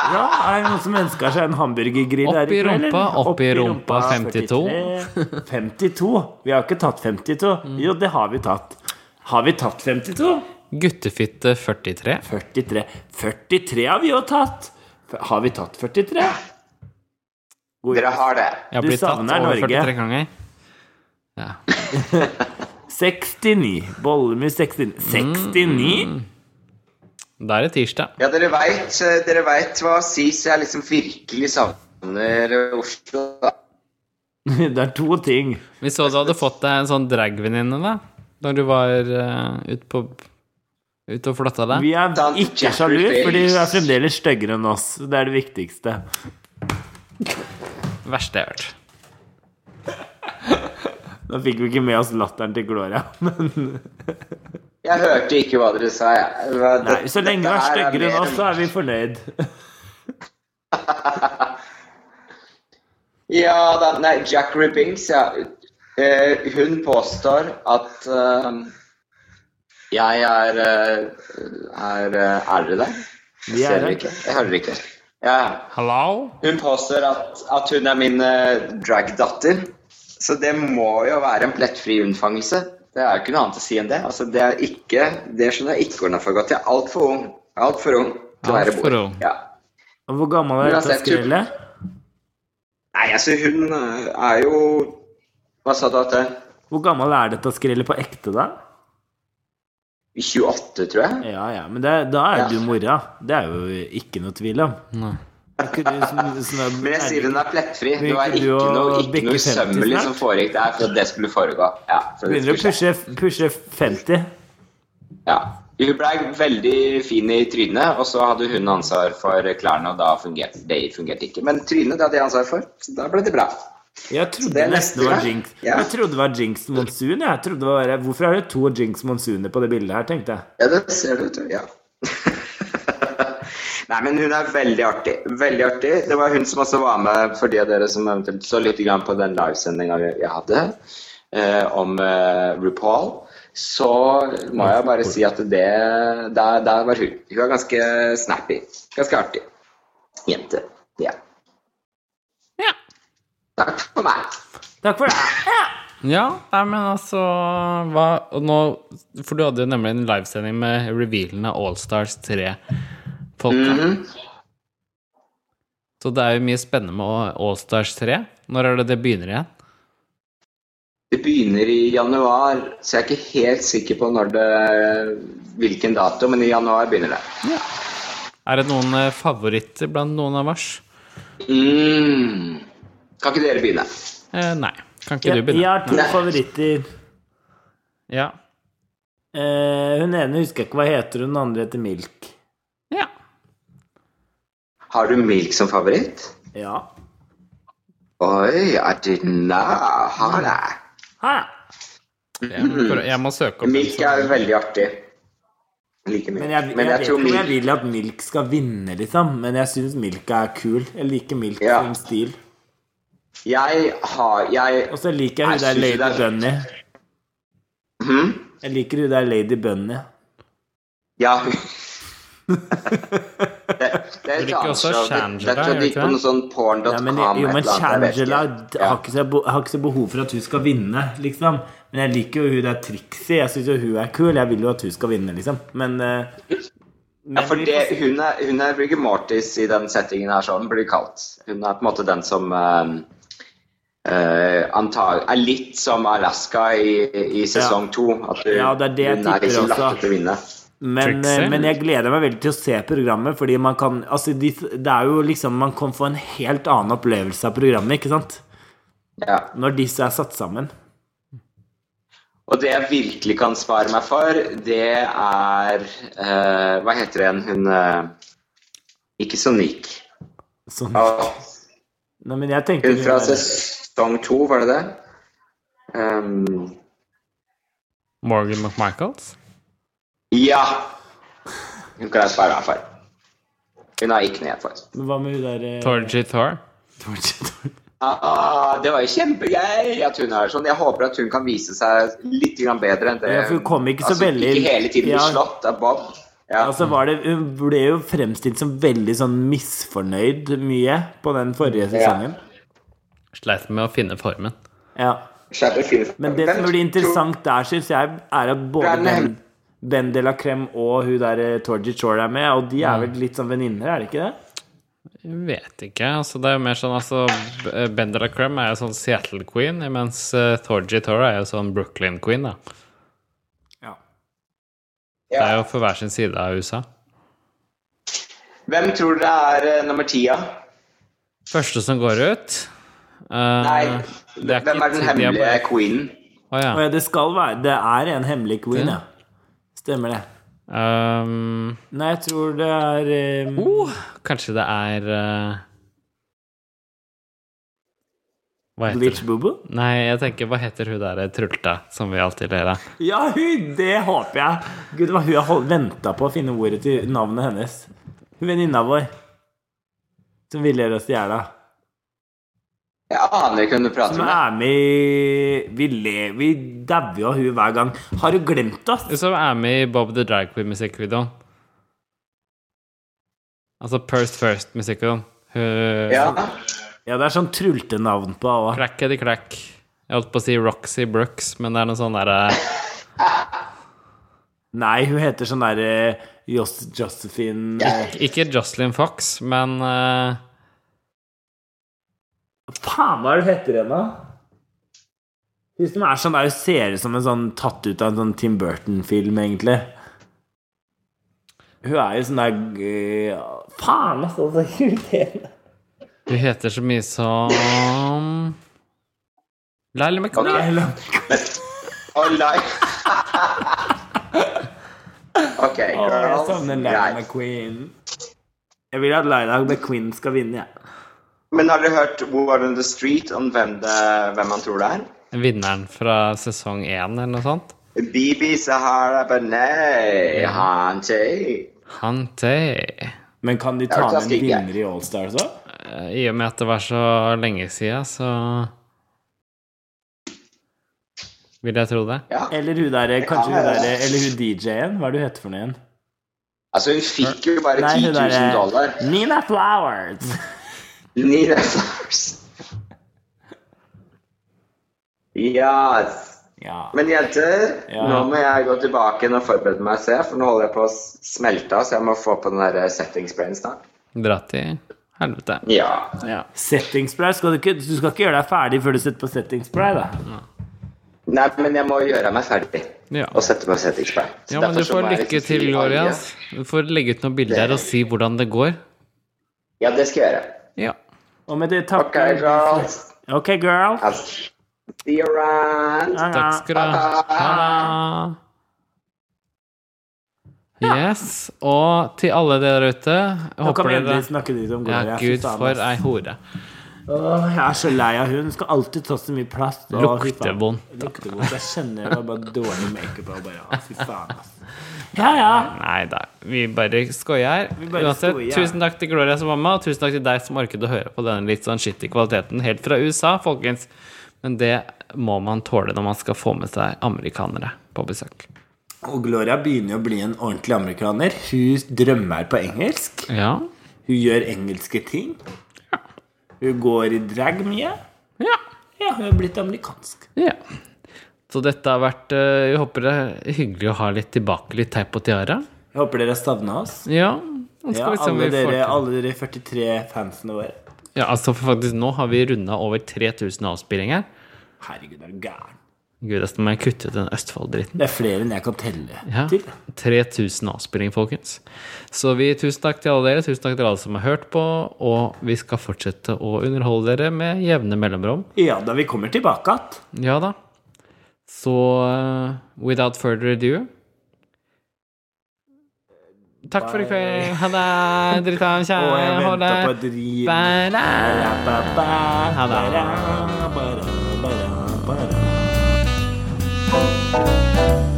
Speaker 1: Ja, er det noen som ønsker seg en hamburgergrill
Speaker 2: Opp i
Speaker 1: eller?
Speaker 2: rumpa, opp i rumpa,
Speaker 1: 42. 52? Vi har ikke tatt 52.
Speaker 2: Mm.
Speaker 1: Jo, det har vi tatt. Har vi tatt 52?
Speaker 2: Guttefitte 43.
Speaker 1: 43. 43 har vi jo tatt! Har vi tatt 43?
Speaker 3: Dere har det.
Speaker 2: Jeg har
Speaker 1: Du
Speaker 2: blitt tatt
Speaker 1: savner
Speaker 2: over
Speaker 1: Norge.
Speaker 2: 43 ganger. Ja.
Speaker 1: 69. Bollemus 69. 69?
Speaker 2: Mm. Da er det tirsdag.
Speaker 3: Ja, dere veit dere vet hva SIS jeg liksom virkelig savner Oslo. da.
Speaker 1: Det er to ting.
Speaker 2: Vi så du hadde fått deg en sånn dragvenninne, da. Da du var uh, ute på Ute og flotta deg.
Speaker 1: Vi er
Speaker 3: Dan
Speaker 1: ikke
Speaker 3: Jeffrey
Speaker 1: sjalu, fordi hun er
Speaker 3: Davis.
Speaker 1: fremdeles styggere enn oss. Det er det viktigste.
Speaker 2: Verste jeg har hørt.
Speaker 1: Nå fikk vi ikke med oss latteren til Gloria. Men
Speaker 3: Jeg hørte ikke hva dere sa, jeg. Hva-
Speaker 1: nei, så lenge hun er
Speaker 3: dette her
Speaker 1: styggere enn
Speaker 3: mer
Speaker 1: oss, så er vi fornøyd.
Speaker 3: Ja da, nei, Jack Ribbings, ja. Eh, hun påstår at eh, jeg er eh, Er eh, Er dere der?
Speaker 1: Vi er
Speaker 3: Ser dere
Speaker 1: her.
Speaker 3: ikke? Jeg hører dere ikke. Ja.
Speaker 2: Hallo?
Speaker 3: Hun påstår at, at hun er min eh, dragdatter. Så det må jo være en plettfri unnfangelse. Det er jo ikke noe annet å si enn det. Altså, det, er ikke, det skjønner jeg ikke hvordan jeg får gått. Jeg er altfor ung. Altfor ung til å være
Speaker 2: Alt for
Speaker 3: bord.
Speaker 2: ung.
Speaker 3: Ja.
Speaker 1: Og Hvor gammel er
Speaker 3: Men
Speaker 1: dette
Speaker 3: altså, jeg tror-
Speaker 1: skrellet?
Speaker 3: Nei, altså, hun eh, er jo Hva sa du at det
Speaker 1: Hvor gammel er dette skrellet på ekte, da?
Speaker 3: 28, tror jeg?
Speaker 1: Ja, ja, men det, da
Speaker 3: Ja.
Speaker 1: er du mora. Det er jo ikke noe tvil om.
Speaker 2: Nei.
Speaker 1: Er ikke du sånn- sånn-
Speaker 3: Men jeg sier hun er plettfri. Det
Speaker 1: Begynte
Speaker 3: var
Speaker 1: du
Speaker 3: ikke
Speaker 1: å
Speaker 3: noe, ikke
Speaker 1: bikke
Speaker 3: noe
Speaker 1: 50
Speaker 3: sømmelig
Speaker 1: snart?
Speaker 3: som foregikk der for at det skulle foregå. Ja, for det
Speaker 1: Begynner å
Speaker 3: skulle skje.
Speaker 1: pushe, pushe 50.
Speaker 3: ja. Hun blei veldig fin i trynet, og så hadde hun ansvar for klærne, og da fungerte det fungerte ikke. Men trynet det hadde jeg ansvar for, så da ble det bra.
Speaker 1: Jeg
Speaker 3: Så
Speaker 1: trodde
Speaker 3: det er
Speaker 1: nesten
Speaker 3: neste,
Speaker 1: det var
Speaker 3: ja.
Speaker 1: Jinx.
Speaker 3: Ja.
Speaker 1: Jeg trodde det var Jinx Monsoon. Jeg trodde det var bare, hvorfor er det to Jinx Monsooner på det bildet her, tenkte jeg.
Speaker 3: Ja, det ser du, vet du. Ja. Nei, men hun er veldig artig. Veldig artig. Det var hun som også var med for de av dere som eventuelt så litt grann på den livesendinga jeg hadde eh, om eh, RuPaul. Så må jeg bare si at det Der, der var hun. Hun er ganske snappy. Ganske artig. Jente. Ja.
Speaker 2: Ja.
Speaker 3: Takk for meg.
Speaker 1: Takk for det.
Speaker 2: Ja, nei, men altså hva, og nå, For du hadde jo nemlig en livesending med revealen av Allstars 3-folka.
Speaker 3: Mhm.
Speaker 2: Så det er jo mye spennende med Allstars 3. Når er det det begynner igjen?
Speaker 3: Det begynner i januar, så jeg er ikke helt sikker på når det, hvilken dato, men i januar begynner det.
Speaker 2: Er det noen eh, favoritter blant noen av oss?
Speaker 3: Mm. Kan ikke dere begynne?
Speaker 2: Eh, nei. Kan ikke
Speaker 1: Jeg,
Speaker 2: du
Speaker 1: jeg
Speaker 2: begynne?
Speaker 1: har to
Speaker 3: Nei.
Speaker 1: favoritter.
Speaker 2: Ja.
Speaker 1: Eh, hun ene husker jeg ikke hva heter, hun andre heter Milk.
Speaker 2: ja.
Speaker 3: Har du Milk som favoritt?
Speaker 1: Ja.
Speaker 3: Oi, I did not ha det.
Speaker 1: Hæ?
Speaker 2: Jeg, må prøve- jeg må søke opp
Speaker 3: Milk er veldig artig. Jeg liker Milk.
Speaker 1: Men jeg, jeg, vet
Speaker 3: tror
Speaker 1: ikke om jeg
Speaker 3: Milk
Speaker 1: vil at Milk skal vinne, liksom. Men jeg syns Milk er kul. Jeg liker Milk
Speaker 3: Ja.
Speaker 1: som stil.
Speaker 3: Jeg har Jeg
Speaker 1: Og så liker jeg hun
Speaker 3: Jeg
Speaker 1: der
Speaker 3: synes
Speaker 1: Lady
Speaker 3: det er-
Speaker 1: Bunny.
Speaker 3: hm?
Speaker 1: Jeg liker hun der Lady Bunny.
Speaker 3: Ja. det, det er
Speaker 2: Du
Speaker 3: et
Speaker 2: liker
Speaker 3: annet
Speaker 2: også
Speaker 3: show. Det-
Speaker 2: Shangela,
Speaker 3: Jeg tror
Speaker 2: gjør
Speaker 3: de
Speaker 2: du
Speaker 3: gikk
Speaker 2: ikke
Speaker 3: på
Speaker 2: det?
Speaker 3: noe sånn porn.com.
Speaker 1: Ja, men, jo,
Speaker 3: et
Speaker 1: men
Speaker 3: eller annet, jeg vet ikke.
Speaker 1: Shangela har ikke, så, bo- har ikke så behov for at hun skal vinne, liksom. Men jeg liker jo hun der Trixie. Jeg syns jo hun er kul. Jeg vil jo at hun skal vinne, liksom. Men, eh,
Speaker 3: Ja,
Speaker 1: men
Speaker 3: for
Speaker 1: vi får
Speaker 3: det,
Speaker 1: se.
Speaker 3: hun, er, hun er Rigor Mortis i den settingen her, sånn blir det kalt. Hun er på en måte den som eh, eh, antag, er litt som Alaska i, i sesong
Speaker 1: Ja.
Speaker 3: to. At hun,
Speaker 1: Ja, det er det jeg
Speaker 3: hun er
Speaker 1: tipper
Speaker 3: liksom
Speaker 1: også.
Speaker 3: lagt til å vinne.
Speaker 1: Men,
Speaker 2: Trixie?
Speaker 1: eh, men jeg gleder meg veldig til å se programmet, fordi man kan Altså, de, det er jo liksom Man kan få en helt annen opplevelse av programmet, ikke sant?
Speaker 3: Ja.
Speaker 1: Når disse er satt sammen.
Speaker 3: Og det jeg virkelig kan svare meg for, det er eh, Hva heter det igjen? Hun eh, Ikke Sonique.
Speaker 1: Sånn.
Speaker 3: Åh,
Speaker 1: Nei, men jeg tenker
Speaker 3: Hun fra
Speaker 1: hun er-
Speaker 3: sesong to, var det det? Um,
Speaker 2: Morgan McMichaels?
Speaker 3: ja! Hun kan jeg svare meg for. Hun har ikke noe jeg får.
Speaker 1: Men Hva med hun eh, derre
Speaker 2: Torgy Thor?
Speaker 3: Ah, det var jo kjempegøy at hun er sånn. Jeg håper at hun kan vise seg litt grann bedre enn det.
Speaker 1: Ja, for hun kom ikke så
Speaker 3: altså,
Speaker 1: veldig-
Speaker 3: Ikke hele tiden bli
Speaker 1: Ja.
Speaker 3: slått av Bob. Ja.
Speaker 1: Altså var det, Hun ble jo fremstilt som veldig sånn misfornøyd mye på den forrige sesongen.
Speaker 2: Sleit med å finne formen.
Speaker 1: Ja.
Speaker 3: Skjerpet finnes.
Speaker 1: Men det som blir interessant der, syns jeg, er at både
Speaker 3: Brandon.
Speaker 1: Ben, ben de la Creme og hun der eh, Torgy Shore er med, og de er vel litt sånn venninner, er det ikke det?
Speaker 2: Jeg vet ikke. altså Det er jo mer sånn altså B- Bendela Crumb er jo sånn Seattle Queen, mens uh, Torgy Thor er jo sånn Brooklyn Queen, da.
Speaker 1: Ja.
Speaker 2: Det
Speaker 3: Ja.
Speaker 2: er jo for hver sin side av USA.
Speaker 3: Hvem tror dere er eh, nummer ti, da?
Speaker 2: Første som går ut eh,
Speaker 3: Nei,
Speaker 2: det er
Speaker 3: hvem
Speaker 2: ikke
Speaker 3: er den
Speaker 2: tid, de er
Speaker 3: hemmelige
Speaker 2: bare-
Speaker 3: queenen?
Speaker 2: Å ja.
Speaker 1: Og ja, det skal være Det er en hemmelig queen, ja. Stemmer det.
Speaker 2: Um,
Speaker 1: Nei, jeg tror det er eh,
Speaker 2: oh, kanskje det er eh, Hva heter
Speaker 1: Bleach
Speaker 2: det?
Speaker 1: Boobo?
Speaker 2: Nei, jeg tenker hva heter hun der trulta som vi alltid ler av?
Speaker 1: Ja, hun! Det håper jeg. Gud, det var hun jeg venta på å finne ordet til navnet hennes. Hun venninna vår. Som ville oss i hjel.
Speaker 3: Jeg aner ikke hvem du prater
Speaker 1: Som
Speaker 3: med.
Speaker 1: er med i Vi lever Vi dauer jo av hun hver gang. Har hun glemt oss?
Speaker 2: Hun som Liksom, er med i Bob the Drag Queen musikkvideoen. Altså Purse First musikkvideoen. Hun
Speaker 3: Ja.
Speaker 1: Ja, det er sånn trultenavn på henne.
Speaker 2: Crackety crack. Jeg holdt på å si Roxy Brooks, men det er noe sånn derre
Speaker 1: Nei, hun heter sånn derre Jos Josephine eh,
Speaker 2: Ikke Jocelyn Fox, men eh,
Speaker 1: Faen, hva er det hun heter henne? Hun som er sånn der, hun ser ut som en sånn tatt ut av en sånn Tim Burton-film, egentlig. Hun er jo sånn der eh, Faen, altså! Så irriterende.
Speaker 2: hun heter så mye som Lyle McCoy.
Speaker 3: Ok.
Speaker 1: Eller-
Speaker 3: Og Lyle
Speaker 1: Å,
Speaker 3: OK,
Speaker 1: jeg
Speaker 3: girls.
Speaker 1: savner Laila
Speaker 3: Greit.
Speaker 1: McQueen. Jeg vil at Laila McQueen skal vinne, jeg.
Speaker 3: Men har dere hørt War on the Street om hvem, det, hvem man tror det er?
Speaker 2: Vinneren fra sesong én, eller noe sånt.
Speaker 3: Bibi Sahara Banay
Speaker 2: Ja.
Speaker 3: Hante.
Speaker 2: Hunty.
Speaker 1: Men kan de
Speaker 3: Jeg
Speaker 1: ta
Speaker 3: vil ta
Speaker 1: med en
Speaker 3: stikk, jeg.
Speaker 1: vinner i Allstar også?
Speaker 2: Eh, I og med at det var så lenge siden, så Vil jeg tro det.
Speaker 3: Ja.
Speaker 1: Eller hun der, kanskje hun
Speaker 3: være.
Speaker 1: der, eller hun DJ-en? Hva er det hun heter for noe igjen?
Speaker 3: Altså, hun fikk jo bare
Speaker 1: Nei,
Speaker 3: 10
Speaker 1: hun eh,
Speaker 3: 000 dollar.
Speaker 1: derre Nina Flowers.
Speaker 3: Nina Flowers. Yes.
Speaker 1: Ja.
Speaker 3: Men jenter,
Speaker 1: Ja.
Speaker 3: nå må jeg gå tilbake igjen og forberede meg se, for nå holder jeg på å smelte av, så jeg må få på den der setting sprayen snart.
Speaker 2: Dra til helvete.
Speaker 3: Ja.
Speaker 1: ja. Setting spray skal du ikke Du skal ikke gjøre deg ferdig før du setter på setting spray, da.
Speaker 3: Nei, men jeg må gjøre meg ferdig
Speaker 2: Ja.
Speaker 3: og sette på setting spray. Så
Speaker 2: ja, men du
Speaker 3: derfor så
Speaker 2: får
Speaker 3: må jeg
Speaker 2: lykke
Speaker 3: liksom
Speaker 2: til,
Speaker 3: fri
Speaker 2: Gloria.
Speaker 3: olje.
Speaker 2: ass. Du får legge ut noen bilder og si hvordan det går.
Speaker 3: Ja, det skal jeg gjøre.
Speaker 2: Ja.
Speaker 1: Og med det
Speaker 3: Ok,
Speaker 1: takker vi for-
Speaker 3: girls.
Speaker 1: Ok, girl.
Speaker 3: Altså, See you around.
Speaker 2: Takk skal du ha. Ha det. Yes. Og til alle dere ute jeg
Speaker 1: Nå kan
Speaker 2: Håper
Speaker 1: vi
Speaker 2: dere
Speaker 1: endelig snakke litt om
Speaker 2: Ja,
Speaker 1: Gloria. Fy
Speaker 2: gud,
Speaker 1: faen,
Speaker 2: for
Speaker 1: ass.
Speaker 2: ei hore.
Speaker 1: Åh, jeg er så lei av hun. Hun Skal alltid ta så mye plass. Åh, fy faen.
Speaker 2: Luktevondt,
Speaker 1: Lukter vondt. Jeg kjenner det var bare dårlig makeup og bare åh, Fy faen, ass. Ja, ja.
Speaker 2: Nei da, vi bare skoier her.
Speaker 1: bare
Speaker 2: Uansett,
Speaker 1: skoier.
Speaker 2: tusen takk til Gloria som var med, og tusen takk til deg som orket å høre på denne litt sånn skittige kvaliteten helt fra USA, folkens. Men det må man tåle når man skal få med seg amerikanere på besøk.
Speaker 1: Og Gloria begynner å bli en ordentlig amerikaner. Hun drømmer på engelsk.
Speaker 2: Ja.
Speaker 1: Hun gjør engelske ting. Hun går i drag mye.
Speaker 2: Ja.
Speaker 1: Ja, hun er blitt amerikansk.
Speaker 2: ja. Så dette har vært eh, Jeg håper det er hyggelig å ha litt tilbake, litt teip og tiara.
Speaker 1: Jeg håper dere har savna oss.
Speaker 2: Ja. nå
Speaker 1: Ja,
Speaker 2: skal vi se om
Speaker 1: alle,
Speaker 2: vi får
Speaker 1: dere,
Speaker 2: til-
Speaker 1: alle dere 43 fansene våre.
Speaker 2: ja, altså for faktisk nå har vi runda over 3000 avspillinger.
Speaker 1: Herregud, er du gæren?
Speaker 2: Gud, jeg må jeg kutte ut den Østfold-dritten.
Speaker 1: Det er flere enn jeg kan telle
Speaker 2: Ja.
Speaker 1: til.
Speaker 2: 3000 avspilling, folkens. Så vi tusen takk til alle dere, tusen takk til alle som har hørt på, og vi skal fortsette å underholde dere med jevne mellomrom.
Speaker 1: Ja, da vi kommer tilbake igjen.
Speaker 2: Ja da. Så eh, without further ado Takk for i kveld. Ha det, drittan
Speaker 1: Og jeg
Speaker 2: kjære. Hold
Speaker 1: venter på
Speaker 2: deg.
Speaker 1: et rim.
Speaker 2: Eh, Bæ, bæ.
Speaker 1: Ha
Speaker 2: det.
Speaker 1: det.